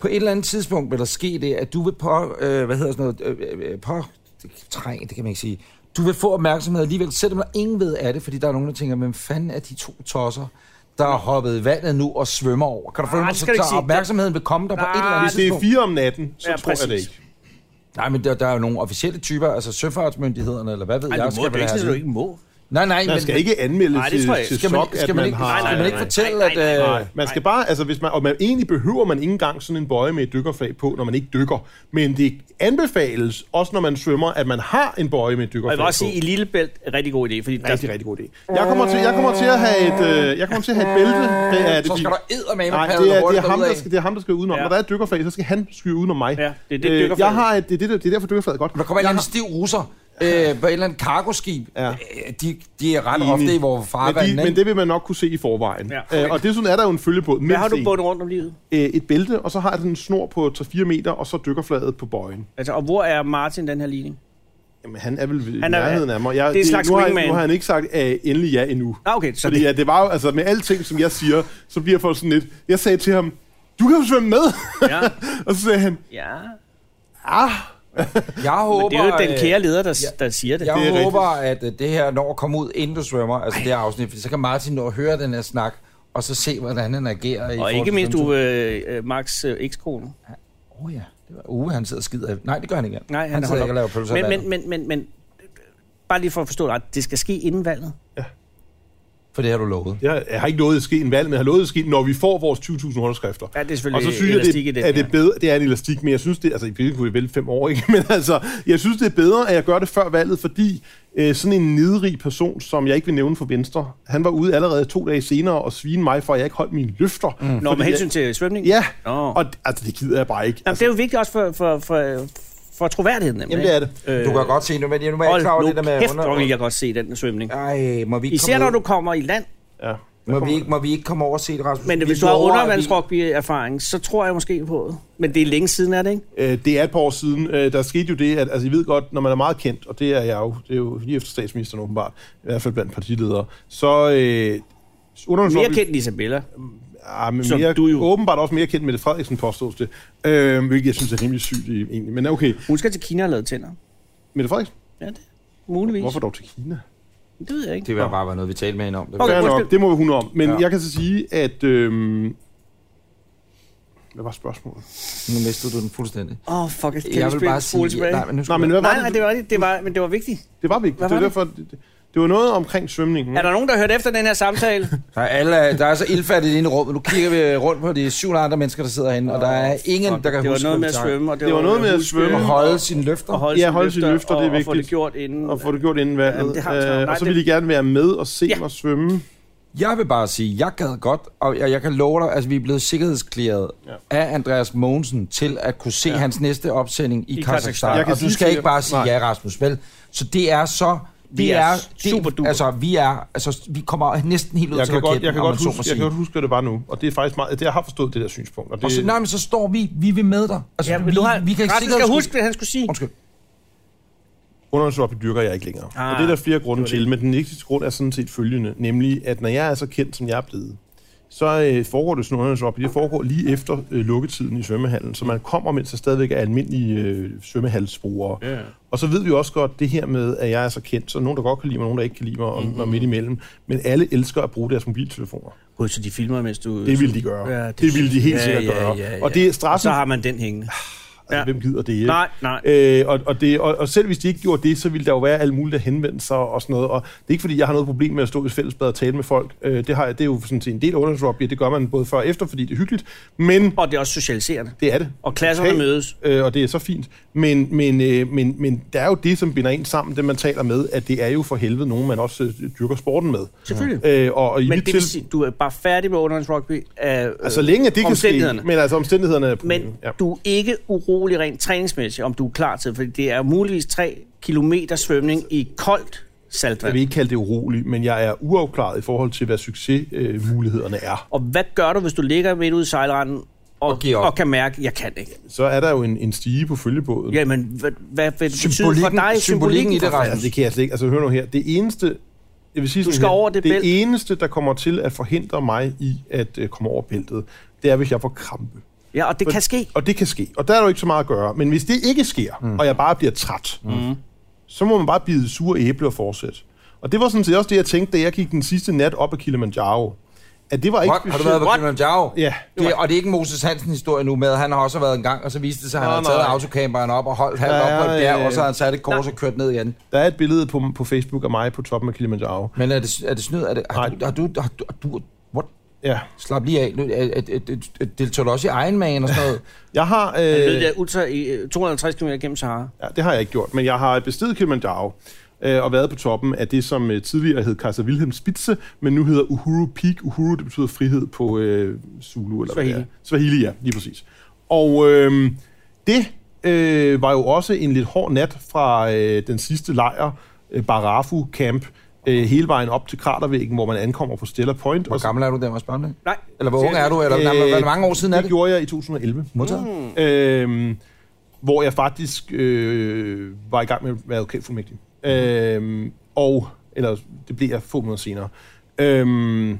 På et eller andet tidspunkt vil der ske det, at du vil på... Øh, hvad hedder sådan noget? Øh, øh, på... Det, træng, det kan man ikke sige. Du vil få opmærksomhed alligevel, selvom der ingen ved af det, fordi der er nogen, der tænker, hvem fanden er de to tosser, der har hoppet i vandet nu og svømmer over? Kan du få Ah, mig, det så skal du ikke så sige. opmærksomheden vil komme der på Nej, et eller andet Hvis det er tidspunkt? 4 om natten, så Ja, ja, tror jeg det præcis. ikke. Nej, men der, der er jo nogle officielle typer, altså søfartsmyndighederne, eller hvad ved Ej, jeg. du må skal det vel ikke, have sådan, at du ikke må. Nej, nej, Man skal ikke anmelde Nej, nej, det det tror jeg til, ikke. til Skal man, SOC, ikke- skal man, at man ikke, har... skal man ikke nej, nej. fortælle, Nej, nej, at... Øh, Nej, man skal bare, altså hvis man, og man, egentlig behøver man ikke engang sådan en bøje med et dykkerflag på, når man ikke dykker. Men det anbefales, også når man svømmer, at man har en bøje med et Og dykkerflag jeg vil på. også sige, i Lillebælt er rigtig god idé, fordi der, rigtig, rigtig god idé. Jeg kommer til, jeg kommer til at have et, øh, jeg kommer til at have et bælte. Det er, det, så skal der eddermame Nej, padle det er, det, hurtigt er ham, derudad. der skal, det er ham, der skal udenom. Ja. Ja. Når der er et dykkerflag, så skal han skyde udenom mig. Øh, Ja, det er det, dykkerflaget- jeg har et, det, er det, det er derfor dykkerflaget er godt. Der kommer en eller jeg anden stiv russer øh, på et eller andet cargoskib. Ja. Ja. De, de er ret Enig. ofte i vores men, farvand, de, men det vil man nok kunne se i forvejen. Ja. Ja. Øh, og desuden er der jo en følge på. hvad har du bundet rundt om livet? Øh, et bælte, og så har jeg sådan en snor på 3-4 meter, og så dykkerflaget på bøjen. Altså, og hvor er Martin den her ligning? Jamen, han er vel ved Han er- nærheden af mig. Jeg, det er en slags nu, har, jeg- wingman. nu har han ikke sagt uh, endelig ja endnu. Nå, okay, så Fordi det, ja, det var jo, altså med alting, som jeg siger, så bliver folk sådan lidt... Jeg sagde til ham, du kan jo svømme med. ja, og så sagde han, ja. ah, Jeg håber, Men det er jo den øh, kære leder, der, der siger det. Jeg Det er håber, at øh, det her når at komme ud, inden du svømmer, altså det her afsnit, for så kan Martin nå at høre den her snak, og så se, hvordan han agerer. i Og forhold ikke til mindst dem. du, øh, øh, Max øh, ekskone. Åh oh, ja, det var Uwe, han sidder og skider. Nej, det gør han ikke. Nej, han, han holder sidder ikke og laver op. pølser. men, Men, men, men, men, men, bare lige for at forstå dig, det skal ske inden valget. For det har du lovet. jeg, jeg har ikke lovet at ske en valg, men jeg har lovet at ske, når vi får vores 20.000 underskrifter. Ja, det er Og selvfølgelig så synes jeg, elastik i det, den at det er her. bedre, det er en elastik, men jeg synes det, altså i virkeligheden kunne jeg vælge fem år, ikke? Men altså, jeg synes det er bedre, at jeg gør det før valget, fordi øh, sådan en nedrig person, som jeg ikke vil nævne for Venstre, han var ude allerede to dage senere og svine mig for, at jeg ikke holdt mine løfter. Mm. Nå, med hensyn til svømning? Ja, Nå. og d- altså, det gider jeg bare ikke. Jamen, det er jo vigtigt også for, for, for, for troværdigheden. Nemlig, Jamen, det er det. Du kan godt se nu, men jeg nu er jeg ikke klar over Øh, Hold det nu der med... kæft, under- hvor vil jeg godt se den svømning. Ej, må vi ikke Især komme når ud? du kommer i land. Ja. Må vi, ikke, må vi ikke komme over og se det, Rasmus? Men Vi hvis du har lover, at vi- undervandsrugby-erfaring, så tror jeg måske på det. Men det er længe siden, er det ikke? Øh, det er et par år siden. Øh, der skete jo det, at altså, I ved godt, når man er meget kendt, og det er jeg jo, det er jo lige efter statsministeren åbenbart, i hvert fald blandt partiledere, så... Øh, Mere undervandsrugby- kendt end Isabella. Ja, Ah, men Som mere, du du jo- jo. åbenbart også mere kendt med det Frederiksen, påstås det. Øh, hvilket jeg synes er rimelig sygt i- egentlig. Men okay, Hun skal til Kina og lave tænder. Mette Frederiksen, Ja, det muligvis. hvorfor dog til Kina? Det ved jeg ikke. Det vil jeg bare være noget, vi talte med hende om. Det Okay. okay. Fair undskyld. nok, det må hun om. Men Ja. ja. jeg kan så sige, at... Øh, hvad var spørgsmålet? Nu mistede du den fuldstændig. Åh, oh, fuck, kan Jeg vil bare sige... Nej, men nu skal Nej, men jeg- hvad var nej, nej, det? det var rigtigt. Det var, men det var vigtigt. Det var vigtigt. Hvad Det var var derfor, det, det- det var noget omkring svømningen. Er der nogen, der hørte efter den her samtale? Der er, alle, der er så ildfattigt inde i rummet. Nu kigger vi rundt på de 700 andre mennesker, der sidder herinde, og der er ingen, der kan det var huske... hvad noget med vi at snakker om. svømme. Og det, Det var noget med at huske svømme. Mm. Og holde sine løfter. Og holde Ja, sine holde sine løfter, det er og, og få det vigtigt. gjort inden. og få det gjort inden valget. Jamen, det har vi snakket om. Øh, Nej, og så det- vil de gerne være med og se Ja. ja. mig svømme. Jeg vil bare sige, jeg gad godt, og jeg, jeg kan love dig, altså vi er blevet sikkerhedsklæret ja. Ja. af Andreas Mogensen til at kunne se ja. hans næste opsending i, I I Kazakhstan. Kazakhstan. Jeg kan Og du sige skal til ikke jer- bare sige Nej. ja, Rasmus, vel? Så det er så... Det Vi er det, superduper. Altså, vi er... Altså, vi kommer næsten helt ud Jeg til kan, godt, raketten, jeg, kan om godt man så må huske, jeg sige. kan godt huske, hvad det var nu. Og det er faktisk meget... Det, jeg har forstået det der synspunkt. Og det, Og så, nej, men så står vi, vi vil med dig. Altså, Ja, vi, men du har, vi kan ikke Rasmus skal sikkerheds- huske, hvad han skulle sige. Undskyld. Undervandsrugby dyrker jeg ikke længere. Ah, Ah, og det er der flere det grunde var til, men den vigtigste grund er sådan set følgende, nemlig at når jeg er så kendt, som jeg er blevet, så øh, foregår det sådan undervandsrugby. Det foregår lige efter øh, lukketiden i svømmehallen, så man kommer, mens der stadigvæk er almindelige øh, svømmehalsbrugere. Ja. Og så ved vi jo også godt det her med, at jeg er så kendt, så er nogen, der godt kan lide mig, og nogen, der ikke kan lide mig, og, mm-hmm. og midt imellem. Men alle elsker at bruge deres mobiltelefoner. Gud, så de filmer, mens du... Det ville de gøre. Ja, det, det ville de helt ja, sikkert ja, gøre. Ja, ja, og det er Og så straffen. har man den hængende. Altså, Ja. ja. hvem gider det? ikke? Nej, nej. Øh, og, og, det, og, og selv hvis de ikke gjorde det, så ville der jo være alle mulige, der henvendte sig og sådan noget. Og det er ikke, fordi jeg har noget problem med at stå i fællesbad og tale med folk. Øh, det, har jeg, det er jo sådan set en del af underholdningsrugby, og det gør man både før og efter, fordi det er hyggeligt. Men Og det er også socialiserende. det er det. Og klasserne Okay. mødes. Øh, og det er så fint. Men, men, øh, men, men der er jo det, som binder en sammen, det man taler med, at det er jo for helvede nogen, man også øh, dyrker sporten med. Selvfølgelig. Øh, og, og i Men mit det til, vil sige, du er bare færdig med undervandsrugby af altså længe det kan ske, omstændighederne. men altså omstændighederne er problemet. Men du er ikke urolig rent træningsmæssigt, om du er klar til, for det er muligvis 3 kilometer svømning i koldt Jeg vil saltvand. ikke kalde det urolig, men jeg er uafklaret i forhold til, hvad succesmulighederne er. Og hvad gør du, hvis du ligger midt ude i sejlranden og, og, Og giver op. og kan mærke, jeg kan ikke? Så er der jo en, en stige på følgebåden. Jamen, hvad, hvad vil det betyde for Symbolikken, dig? symbolikken i det, for- Rasmus. Altså, det kan jeg slet ikke. Altså, hør nu her. Det eneste... Jeg vil sige Du sådan skal her. over det bælt. det eneste, der kommer til at forhindre mig i at øh, komme over bæltet, det er, hvis jeg får krampe. Ja, og det For- kan ske. Og det kan ske. Og der er jo ikke så meget at gøre. Men hvis det ikke sker, mm. og jeg bare bliver træt, mm. så må man bare bide sure æble og fortsætte. Og det var sådan set også det, jeg tænkte, da jeg gik den sidste nat op ad Kilimanjaro. At det var ikke What? Har du været på Kilimanjaro? Ja. Det, og det er ikke Moses Hansen historie nu med, han har også været en gang, og så viste det sig, at han Nå, havde taget nej. autocamperen op og holdt halvt Der op på et er, bjerg, øh, og så har han sat et kors og kørt ned igen. Der er et billede på, på Facebook af mig på toppen af Kilimanjaro. Men er det, er det snyd? Er det, har, Nej. du, har, du, har, du, har du... What? Ja. Slap lige af. Nu, er- er- er- er- Deltager du også i Iron Man og sådan noget? Jeg har... Øh, Øh, lød jeg ultra i øh, 250 km gennem Sahara. ja, det har jeg ikke gjort, men jeg har bestedet Kilimanjaro øh, og været på toppen af det, som øh, tidligere hed Kaiser Wilhelm Spitze, men nu hedder Uhuru Peak. Uhuru, det betyder frihed på øh, Zulu, eller hvad Swahili. det er. Swahili, ja, lige præcis. Og øh, det øh, var jo også en lidt hård nat fra øh, den sidste lejr, øh, Barafu Camp, øh, hele vejen op til kratervæggen, hvor man ankommer på Stella Point. Hvor og så- gammel er du der, må jeg spørge om det? Nej. Eller hvor ung er du? Eller, Øh, øh, hvor mange år siden er det det? gjorde jeg i 2011. Modtaget. Øhm, hvor jeg faktisk øh, var i gang med at være advokatfuldmægtig. Øhm, og, eller det blev jeg få måneder senere. Øhm,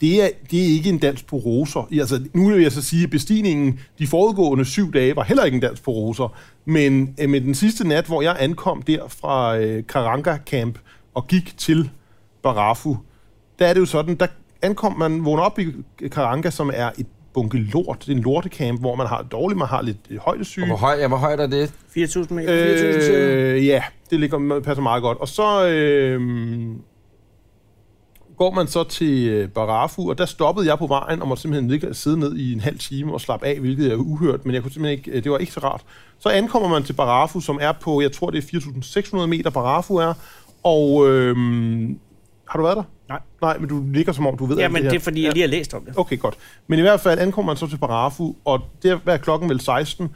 det er, det er ikke en dans på roser. I- Altså, nu vil jeg så sige, at bestigningen de foregående syv dage var heller ikke en dans på roser. Men øh, med den sidste nat, hvor jeg ankom der fra øh, Karanga Camp og gik til Barafu, der er det jo sådan, der ankom man, vågner op i Karanga, som er et bunke lort. Det er en lortecamp, hvor man har det dårligt, man har lidt øh, højdesyge. Og hvor høj, ja, hvor højt er det? 4.000 meter. Øh, ja, det ligger, passer meget godt. Og så øh, går man så til øh, Barafu, og der stoppede jeg på vejen og måtte simpelthen ligge, sidde ned i en halv time og slappe af, hvilket er uhørt, men jeg kunne simpelthen ikke, øh, det var ikke så rart. Så ankommer man til Barafu, som er på, jeg tror det er 4.600 meter Barafu er, og øh, har du været der? Nej. Nej, men du ligger som om du ved alt Jamen, her. det er fordi, jeg lige har læst om det. Okay, godt. Men i hvert fald ankom man så til Barafu, og der var klokken vel 16,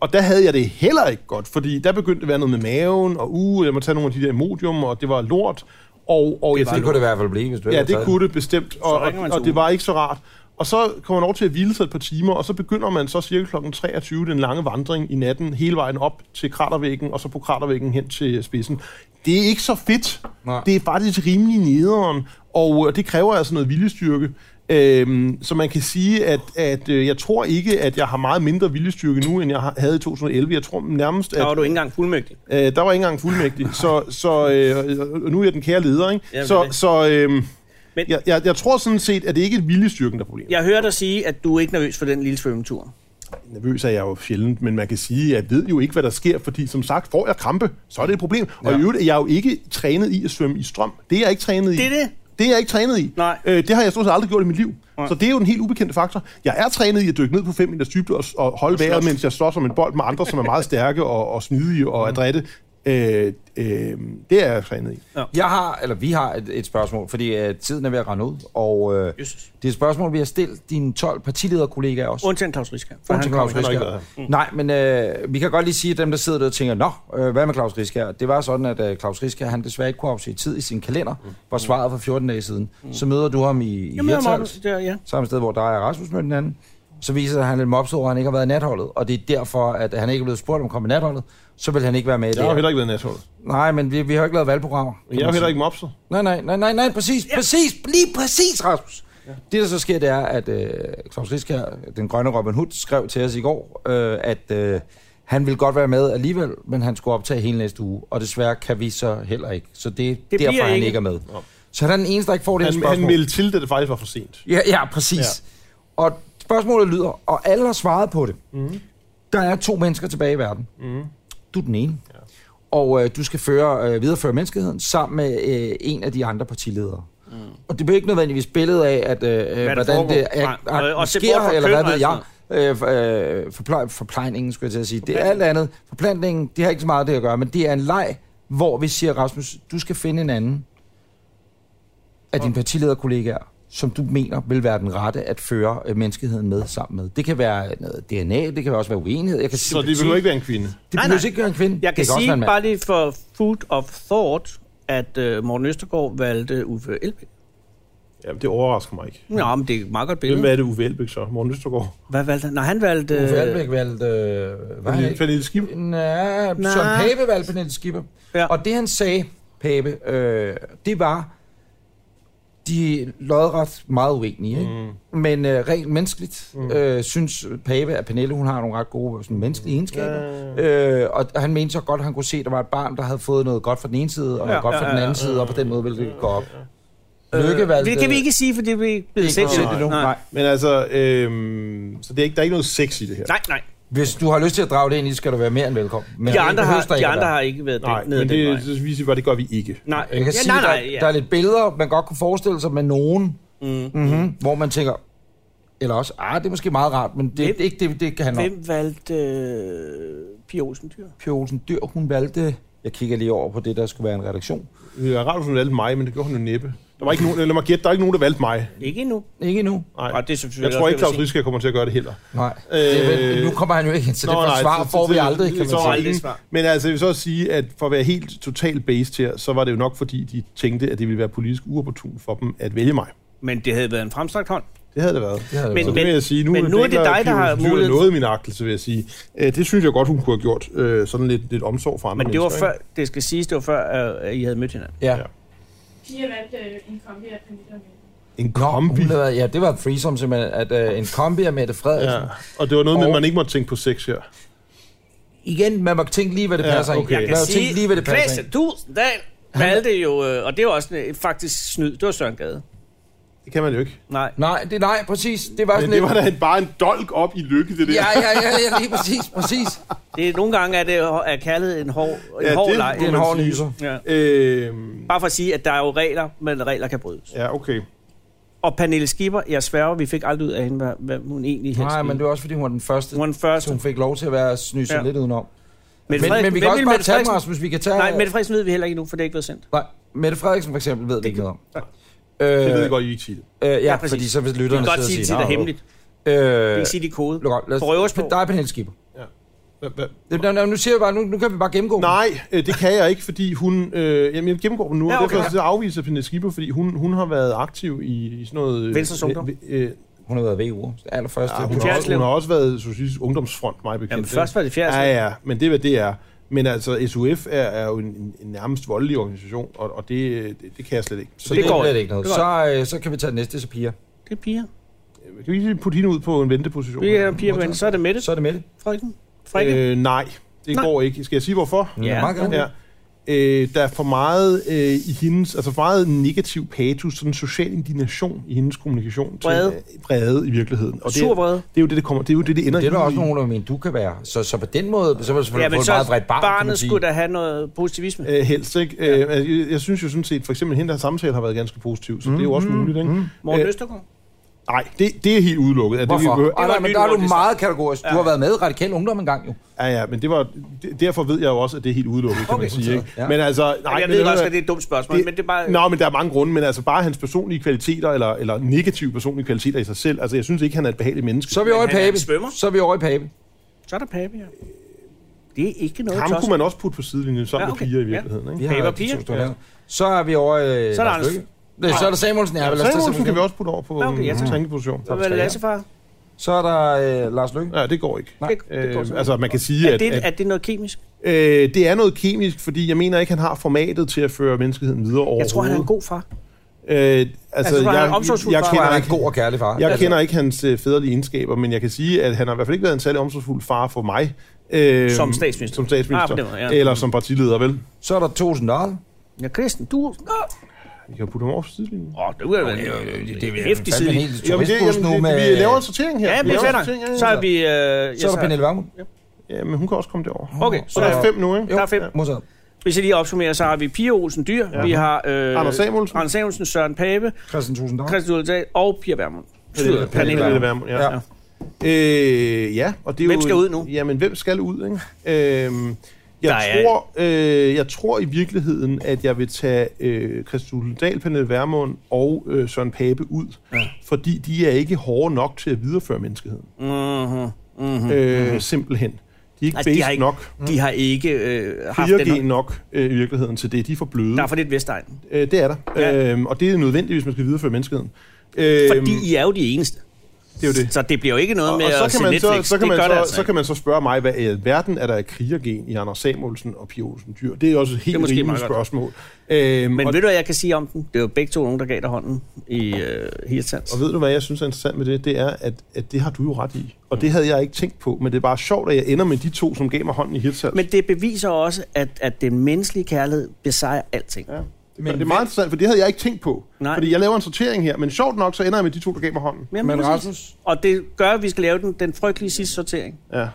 og der havde jeg det heller ikke godt, fordi der begyndte at være noget med maven, og uh, jeg må tage nogle af de der Imodium, og det var lort. Og, og jeg Det tænker, kunne det i hvert fald blive, hvis du ja, havde det taget den. kunne det bestemt, og, og, ringer man til og det Ole. var ikke så rart. Og så kommer man over til at hvile sig et par timer, og så begynder man så cirka kl. 23 den lange vandring i natten, hele vejen op til kratervæggen, og så på kratervæggen hen til spidsen. Det er ikke så fedt. Nej. Det er faktisk rimelig nederen, og øh, det kræver altså noget viljestyrke. Øhm, så man kan sige, at, at øh, jeg tror ikke, at jeg har meget mindre viljestyrke nu, end jeg har- havde i 2011. Jeg tror nærmest, Der at var du ikke engang fuldmægtig. Øh, der var ikke engang fuldmægtig, så, så øh, og nu er jeg den kære leder, ikke? Jamen, så det er det. så øh, Men- jeg, jeg, jeg tror sådan set, at det ikke er viljestyrken, der er problemet. Jeg hører dig sige, at du er ikke nervøs for den lille svømmetur. Nervøs er jeg jo sjældent, men man kan sige, at jeg ved jo ikke, hvad der sker, fordi som sagt, får jeg krampe, så er det et problem. Og Ja. i øvrigt er jeg jo ikke trænet i at svømme i strøm. Det er jeg ikke trænet i. Det er det. Det er jeg ikke trænet i. Nej. Øh, det har jeg stort set aldrig gjort i mit liv. Nej. Så det er jo en helt ubekendt faktor. Jeg er trænet i at dykke ned på 5 meters dybde og, og holde vejret, mens jeg står som en bold med andre, som er meget stærke og, og smidige og Mm. adrette. Øh, øh, det er jeg trænet i. Jeg har, eller vi har et, et spørgsmål, fordi øh, tiden er ved at rende ud, og øh, det Jesus. er et spørgsmål, vi har stillet dine 12 partilederkollegaer også. Undtagen Claus Riske. For Undtagen han Claus kommer ikke. ikke Riskær. Nej, men øh, vi kan godt lige sige, at dem, der sidder der og tænker, nå, øh, hvad med Claus Riskær? Det var sådan, at øh, Claus Riskær, han desværre ikke kunne afse tid i sin kalender, Mm. hvor svaret var 14 dage siden. Så møder du ham i, i Jamen, jeg er Hirtshals, meget- der, ja. samme sted, hvor der er Rasmus med den anden. Så viser det, at han er lidt mobset over, at han ikke har været i natholdet, og det er derfor, at han ikke er blevet spurgt om at komme i natholdet, så vil han ikke være med i det. Jeg har jo her. heller ikke været natholdet. Nej, men vi, vi har jo ikke lavet valgprogrammer. kan Jeg er jo man sige. heller ikke mobset. Nej, nej, nej, nej, nej, præcis, ja. præcis, lige præcis, Rasmus. Ja. Det, der så sker, det er, at øh, Claus Riskær, den grønne Robin Hood, skrev til os i går, øh, at øh, han ville godt være med alligevel, men han skulle optage hele næste uge, og desværre kan vi så heller ikke. Så det er det bliver derfor, han ikke. ikke er med. Så han er den eneste, der ikke får det her Han, spørgsmål. han meldte til, da det faktisk var for sent. Ja, ja, præcis. Ja. Og spørgsmålet lyder, og alle har svaret på det. Mm. Mhm. Der er to mennesker tilbage i verden. Mm. Du er den ene. Ja. Og øh, du skal føre, øh, videreføre menneskeheden sammen med øh, en af de andre partiledere. Mm. Og det bliver ikke nødvendigvis billedet af, at, øh, der hvordan foregår. det er, Nej, er, og- og se sker, bort fra eller køn altså. hvad og ved alt jeg. Øh, for- øh, forplej, forplejningen, skulle jeg til at sige. Det er alt andet. Forplantningen, det har ikke så meget af det at gøre, men det er en leg, hvor vi siger, Rasmus, du skal finde en anden af dine partilederkollegaer, som du mener vil være den rette at føre øh, menneskeheden med sammen med. Det kan være noget DNA, det kan også være uenighed. Jeg kan Så det behøver ikke være en kvinde. det Nej, behøver nej. ikke være en kvinde. Jeg kan det sige mand. bare lige for food of thought, at uh, Morten Østergaard valgte Uffe Elbæk. Ja, det overrasker mig ikke. Nå, men det er et meget godt Hvem billede. er det Uffe Elbæk så? Morten Østergaard? Hvad valgte han? Nej, han valgte... Uffe øh, Elbæk valgte... Øh, var han Pernille ikke? Pernille Skib? Nej, Søren Nej. Pape valgte Pernille Skipper. Ja. Og det han sagde, Pape, øh, det var, de er lodret meget uenige, ikke? Mm. men øh, rent menneskeligt mm. øh, synes Pape, at Pernille hun har nogle ret gode øh, sådan, menneskelige egenskaber. Øh, og han mente så godt, at han kunne se, at der var et barn, der havde fået noget godt fra den ene side, og Ja, noget godt ja, fra ja, den anden ja. side, og på den måde ville det gå op. øh, Lykke valgte... Det kan vi ikke sige, for det er vi ikke blevet Det er sendt ikke endnu. endnu. Nej. Men altså, øhm, så det er ikke, der er ikke noget sex i det her. Nej, nej. Hvis du har lyst til at drage det ind i, skal du være mere end velkommen. Men De det andre, har, behøves der ikke de at andre være. har ikke været Nej, den, nede men den det, vej. så viser vi bare, det gør vi ikke. Nej, Jeg kan ja, sige, nej, nej, der, ja. der er lidt billeder, man godt kunne forestille sig med nogen, mm. mm-hmm, hvor man tænker, eller også, ah, det er måske meget rart, men det, Hvem- det er ikke det, det kan handle om. Hvem valgte øh, Pia Olsen Dyr? Pia Olsen Dyr, hun valgte, jeg kigger lige over på det, der skulle være en redaktion. Det er rart, at hun valgte mig, men det gjorde hun jo næppe. Der var ikke nogen, lad mig gætte, der er ikke nogen, der valgte mig. Ikke endnu. Ikke endnu. Nej. Og det er selvfølgelig jeg tror også ikke, det, jeg Claus vil Riske kommer til at gøre det heller. Nej. Øh, det, er- nu kommer han jo ikke ind, så det Nå, for nej, svar så- får så- vi så- aldrig, kan så- man sige. Aldrig svar. Men altså, jeg vil så også sige, at for at være helt totalt based her, så var det jo nok, fordi de tænkte, at det ville være politisk uopportun for dem at vælge mig. Men det havde været en fremstrakt hånd. Det havde det været. Det havde Men- men, Så det vil jeg sige, nu, men nu er det dig, der har mulighed... mulighed- noget min agtelse, vil jeg sige. Øh, det synes jeg godt, hun kunne have gjort. Øh, sådan lidt, lidt omsorg for andre Men det var mennesker, før, det skal siges, det var før, øh, at I havde mødt hinanden. ja. Ja. Pia valgte øh, en kombi af Pernille og Mette. ikke? En Kombi. kombi. Hun lavede, ja, det var threesome simpelthen, at øh, en kombi af Mette Frederiksen. Ja. Og det var noget med, at Og- man ikke måtte tænke på sex her. Igen, man må tænke lige, hvad det Ja, passer okay. ind. Jeg Man må tænke lige, hvad det passer Christian ind. Tulsendal valgte jo, øh, og det var også øh, faktisk snyd, det var Søren Gade. Det kan man jo ikke. Nej. Nej, det, nej, præcis. Det var sådan Men det lidt- var da en- bare en dolk op i lykke, det der. Ja, ja, ja, ja, lige præcis, præcis. Det er, nogle gange er det er kaldet en hård, en Ja, hård det- leg. Det er en man hård sige. nyser. Ja. Øhm, Bare for at sige, at der er jo regler, men regler kan brydes. ja, okay. Og Pernille Skipper, jeg sværger, vi fik aldrig ud af hende, hvad, hvad hun egentlig helst Nej, men det ville. var også, fordi hun var den første, Hun var den så første. hun fik lov til at være snyse ja. Ja. lidt udenom. Men, Mette Frederik- men vi kan hvem også ville bare Mette tage dem, Frederiksen- Rasmus. Vi kan tage... Nej, Mette Frederiksen ved vi heller ikke nu, for det er ikke blevet sendt. Nej, Mette Frederiksen for eksempel ved det ikke noget om. Øh, Det ved øh, jeg godt, I ikke siger det. ja, Ja, præcis. præcis. fordi så vil Vi lytterne kan godt sidde sige, og at det sige, er hemmeligt. "Nå, Vi okay." kan sige, det er kode. Øh, luk op. Lad Prøv at øve os os, på. der er Pernille Skipper. Ja. Hvad- hvad- Nå, nå, nu siger jeg bare, nu, nu kan vi bare gennemgå dem. Nej, øh, det kan jeg ikke, fordi hun... Øh, jamen, jeg gennemgår dem nu, Ja, ja, okay. okay. og derfor så afviser jeg Pernille Skipper, fordi hun, hun har været aktiv i, i sådan noget... øh, Venstres Ungdom. ve- ve- øh, Hun har været VU'er. Det allerførste. Ja, hun, hun har også, Fjerritslev. hun har også været Socialistisk Ungdomsfront, mig bekendt. Jamen, ikke? først var det Fjerritslev. Ja, ja, men det er, hvad det er. Men altså, SUF er, er jo en, en, en nærmest voldelig organisation, og, og det, øh, det, det kan jeg slet ikke. Så så det, det, går går ikke. det ikke noget. Det går Så, øh, så kan vi tage den næste, så piger. Det er piger. kan vi lige putte hende ud på en venteposition? Vi er piger, men så er det Mette, Så er det med det. Frederiksen. Frederiksen. øh, Nej, Nej. det nej. går ikke. Skal jeg sige, hvorfor? Ja. Meget gerne. Ja. Øh, der er for meget øh, i hendes, altså for meget negativ patos, sådan social indignation i hendes kommunikation. Vrede. Til, øh, vrede i virkeligheden. Øh, Og det, Sur vrede. det er jo det, det kommer, det er jo det, det ender Det er der i. også nogen, der mener, du kan være. Så, så på den måde, så vil du Ja, selvfølgelig men få et så meget bredt barn, kan man barnet sige. skulle da have noget positivisme. Øh, helst, ikke? Ja. Øh, altså, jeg, jeg synes jo sådan set, for eksempel, at hende der samtale har været ganske positiv, så mm, det er jo Mm-hmm. også muligt, ikke? Mm. Morten øh, Østergaard. Nej, det, det er helt udelukket. at Hvorfor? Det, vi behøver- Ah, nej, men nyt der er ord, du det er meget kategorisk. Du har været med i Radikal Ungdom engang, jo. ja, ja, men det var, det, derfor ved jeg jo også, at det er helt udelukket, kan Okay. man sige, ikke? Ja. Men altså... Ej, Nej, jeg men ved det- også, at det er et dumt spørgsmål, men det er bare... Nå, men der er mange grunde, men altså bare hans personlige kvaliteter, eller, eller negative personlige kvaliteter i sig selv. Altså, jeg synes ikke, han er et behageligt menneske. Så er vi over i han er en Pape. svømmer. Så er vi over i Pape. Så er der Pape, ja. Det er ikke noget Ham tosset. kunne man også putte på sidelinjen sammen Ja, ja, okay. okay. med piger i Ja. virkeligheden, ikke? Vi Ja. har Pape og de Pia. to stående her. Så er vi over... Øh, Så er der Lars Anders. Løkke. Nej, så er der Samuelsen. Ja, Ja, vel, altså, lad os tage Samuelsen kan vi Samuelsen. også putte over på Nå, okay, okay, ja, en tak. tankeposition. Så var det Lassefar. Så er der øh, Lars Løkke. Ja, det går ikke. Nej. Det, det Øh, går sådan. altså, man kan sige, er, at, det, at, er det noget kemisk? øh, det er noget kemisk, fordi jeg mener ikke, han har formatet til at føre menneskeheden videre overhovedet. Jeg tror, han er en god far. Øh, altså, Altså, jeg, han er jeg, omsorgsfuld far. jeg, Jeg tror, kender han er ikke, en god og kærlig far. jeg Altså, kender ikke hans øh, fædrelige egenskaber, men jeg kan sige, at han har i hvert fald ikke været en særlig omsorgsfuld far for mig. Øh, Som statsminister. Som Ah, på statsminister. den måde, ja. Eller som partileder, vel? Så er der Thorsten Dahl. Ja, Christen, du... Åh, Vi kan putte ham over på sidelinjen. oh, det var jo en hæftig side. fandme en hel turistbus nu det, med... vi laver en sortering her. Ja, men Vi laver en fedt sortering, ja, nok. ja. Så er vi... Øh, ja, Så er der Pernille Vermund. Ja, men hun kan også komme derover. Okay, så Så der er er fem nu, ikke? der er fem. Modtaget. Hvis jeg lige opsummerer, så har vi Pia Olsen Dyr, ja. vi har øh, Anders Samuelsen. Anders Samuelsen, Søren Pape, Christian Thorsten Dahl. Christian Uldal og Pia Vermund. Slutter. Pernille Pernille. Pernille Vermund, ja. Ja. ja. Øh, ja, og det er Hvem jo, skal ud nu? Jamen, hvem skal ud, ikke? Øhm, jeg, Der er- tror, øh, jeg tror i virkeligheden, at jeg vil tage øh, Christian Dahl, Pernille Vermund og øh, Søren Pape ud, ja. fordi de er ikke hårde nok til at videreføre menneskeheden. Mhm. Mm-hmm. Øh, simpelthen. De er ikke Altså, Mm. de altså, based har ikke ikke nok, De har ikke øh, haft den. 4G nok øh, i virkeligheden til det. De er for bløde. Der er for lidt Vestegn. Øh, det er der. Ja. Ja. Øhm, og det er nødvendigt, hvis man skal videreføre menneskeheden. Øh, Fordi I er jo de eneste. det er jo det. Så det bliver jo ikke noget og, med og at så se kan man så, Netflix. så, kan man det gør så, det altså så ikke. kan man så spørge mig, hvad i alverden er der af krigergen i Anders Samuelsen og Pia Olsen Dyr? Det er også et er helt måske rimeligt meget godt. spørgsmål. Øhm, Men og, ved du, hvad jeg kan sige om den? Det var begge to nogen, der gav dig hånden i øh, Hirtshals. og ved du, hvad jeg synes er interessant med det? Det er, at, at det har du jo ret i. Og det havde jeg ikke tænkt på, men det er bare sjovt, at jeg ender med de to, som gav mig hånden i Hirtshals. Men det beviser også, at, at den menneskelige kærlighed besejrer alting. Ja. Det, Men men det er meget interessant, for det havde jeg ikke tænkt på. Nej. Fordi jeg laver en sortering her, men sjovt nok, så ender jeg med de to, der gav mig hånden. Jamen, Men præcis. Rasmus? Og det gør, at vi skal lave den, den frygtelige sidste sortering. Ja.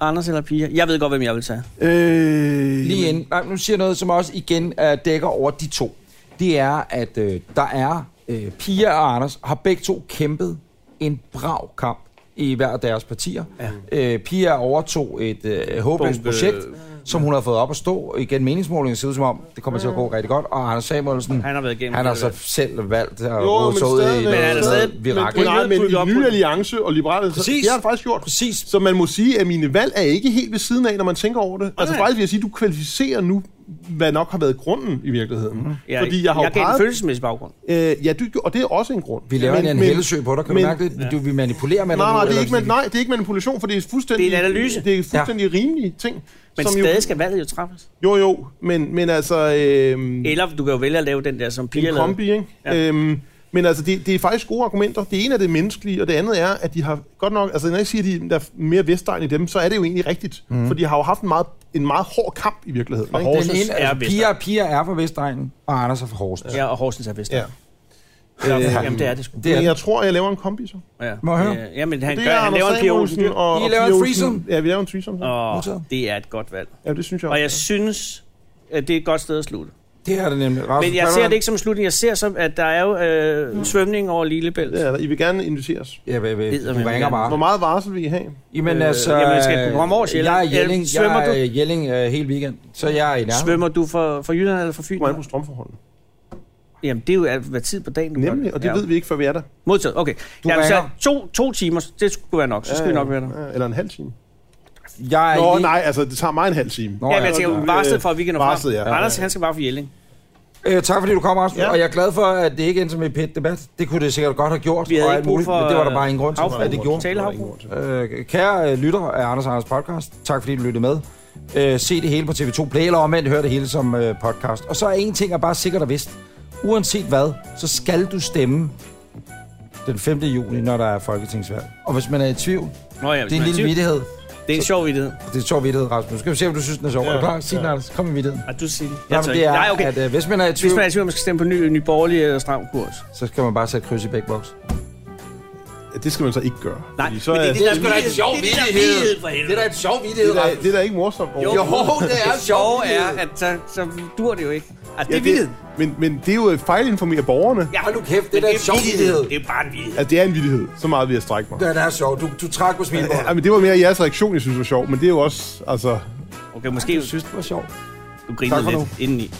Anders eller Pia? Jeg ved godt, hvem jeg vil tage. Øh, Lige inden. Nej, nu siger jeg noget, som også igen øh, dækker over de to. Det er, at øh, der er... Øh, Pia og Anders har begge to kæmpet en brav kamp i hver af deres partier. Ja. Øh, Pia overtog et øh, håbløst Bombe- projekt, som hun har fået op at stå. Igen, meningsmålingen ser ud som om, det kommer til at gå rigtig godt. Og Anders Samuelsen, Han har været igennem han har det så der. selv valgt at Jo, råde men sig ud i stadig- Men han er noget stadig- stadig, Men, virakel. Rydde nej, op, men rydde op, i rydde Nye op. Alliance og Liberale Alliance, Præcis. det har han faktisk gjort. Præcis. Så man må sige, at mine valg er ikke helt ved siden af, når man tænker over det. Altså Nej. faktisk vil jeg sige, at du kvalificerer nu, hvad nok har været grunden i virkeligheden. Jeg, Fordi jeg har Mhm. jeg jo gav en peget... følelsesmæssig baggrund. Øh, ja, du, og det er også en grund. Vi laver Men- men, en men- hældesøg på dig, kan men- du mærke det? Du, vi manipulerer med dig Nej, nu, nej, det er eller ikke, man, sådan. nej, det er ikke manipulation, for det er fuldstændig... Det er en analyse. Det er fuldstændig ja. rimelige ting. Men som stadig jo, skal valget jo træffes. Jo, jo, men, men altså... Øh, Eller du kan jo vælge at lave den der, som Pia en lavede. kombi, ikke? Ja. Ja. Øhm, men altså, det, det er faktisk gode argumenter. Det ene er det menneskelige, og det andet er, at de har godt nok... Altså, når jeg siger, at de der er mere vestegn i dem, så er det jo egentlig rigtigt. Mm. For de har jo haft en meget, en meget hård kamp i virkeligheden. ikke? Den Horsens ene, er altså, Pia, Pia er fra Vestegnen, og Anders er fra Horsens. Ja. Øh, Ja, og Horsens er vist. Ja. Ja. Jamen, det er det sgu. Det er Men det. jeg tror, jeg laver en kombi, så. Ja. Må jeg høre? Ja, Jamen, han, Det gør, er han Anders laver en Pia Samuelsen Olsen. Dyhr. og, I og laver Pia en Olsen. threesome? Ja, vi laver en threesome. Så. Og Modtaget. det er et godt valg. Ja, det synes jeg Og jeg også. synes, at det er et godt sted at slutte. Det er det nemlig. Rasmus, Men jeg kan ser du- det ikke som en slutning. Jeg ser som, at der er jo øh, svømning over Lillebælt. Det er der. I vil gerne inviteres. Ja, hvad- hvad- Eddermame du ringer gerne. bare. Hvor meget varsel vil I have? Jamen altså, øh, jamen, jeg skal kunne komme over til jeg er Jelling. Øh, Jelling, svømmer jeg er du? øh, Jelling øh, hele weekend, så jeg er i nærheden. Svømmer du fra, fra Jylland eller fra Du Fyn? må på strømforholdene. Jamen, det er jo alt, hvad tid på dagen, du gør Nemlig, og det ja. ved vi ikke, før vi er der. Modtaget, okay. Du Jamen, så ringer. to, to timer, det skulle være nok. Så skal vi nok være der. Ja, Eller en halv time. Jeg er Nå, lige- nej, altså, det tager mig en halv time. Nå, Ja, men jeg tænker, Øh, varslet for, at vi kan nå frem. varslet, ja. Anders, han skal bare få Jelling. Øh, tak fordi du kom, Rasmus. Ja. Ja. Og jeg er glad for, at det ikke endte som en pæt debat. Det kunne det sikkert godt have gjort. Vi havde og ikke alt brug muligt, for, men det var der øh, bare ingen grund til, affald. at det gjorde. Tale Øh, kære øh, lytter af Anders og Anders podcast, tak fordi du lyttede med. Øh, se det hele på TV2 Play, eller omvendt hør det hele som øh, podcast. Og så er en ting, er bare sikkert og vist. Uanset hvad, så skal du stemme den 5. juli, når der er folketingsvalg. Og hvis man er i tvivl, Nå ja, hvis det er en man lille tvivl. vittighed. Det er en sjov vidighed. Det er en sjov vittighed, Rasmus. Skal vi se, om du synes, den er sjov. Ja, er du klar? Sig ja. den, Anders. Kom med vittigheden. Ah, du siger det. Ja, Jeg men tør det ikke. er, Nej, okay. at øh, hvis man er i Hvis tvivl, man er i tvivl, om man skal stemme på ny, ny borgerlig eller stram kurs. så skal man bare sætte kryds i begge boks. Ja, det skal man så ikke gøre. Nej, fordi så men er, det er det, Det der er sgu da en sjov Det er da vittighed, vidighed. for helvede. Det er da en sjov vidighed. det, er, da- Rasmus. det er da ikke morsomt. Jo, det er Det en sjov sjove er, vidighed. at så, så dur det jo ikke. Altså, Ja, det er vidighed. men, men det er jo at fejlinformere borgerne. Ja, Hold nu kæft, det er da en sjov vidighed. Det er bare en vidighed. Altså, det er en vittighed. Så meget vil jeg strække mig. Ja, det er sjovt. Du, du trak på smilbåndet. Ja, men det var mere jeres reaktion, jeg synes var sjov, men det er jo også, altså... Okay, måske du, synes, det var sjovt. du Tak grinede for lidt indeni.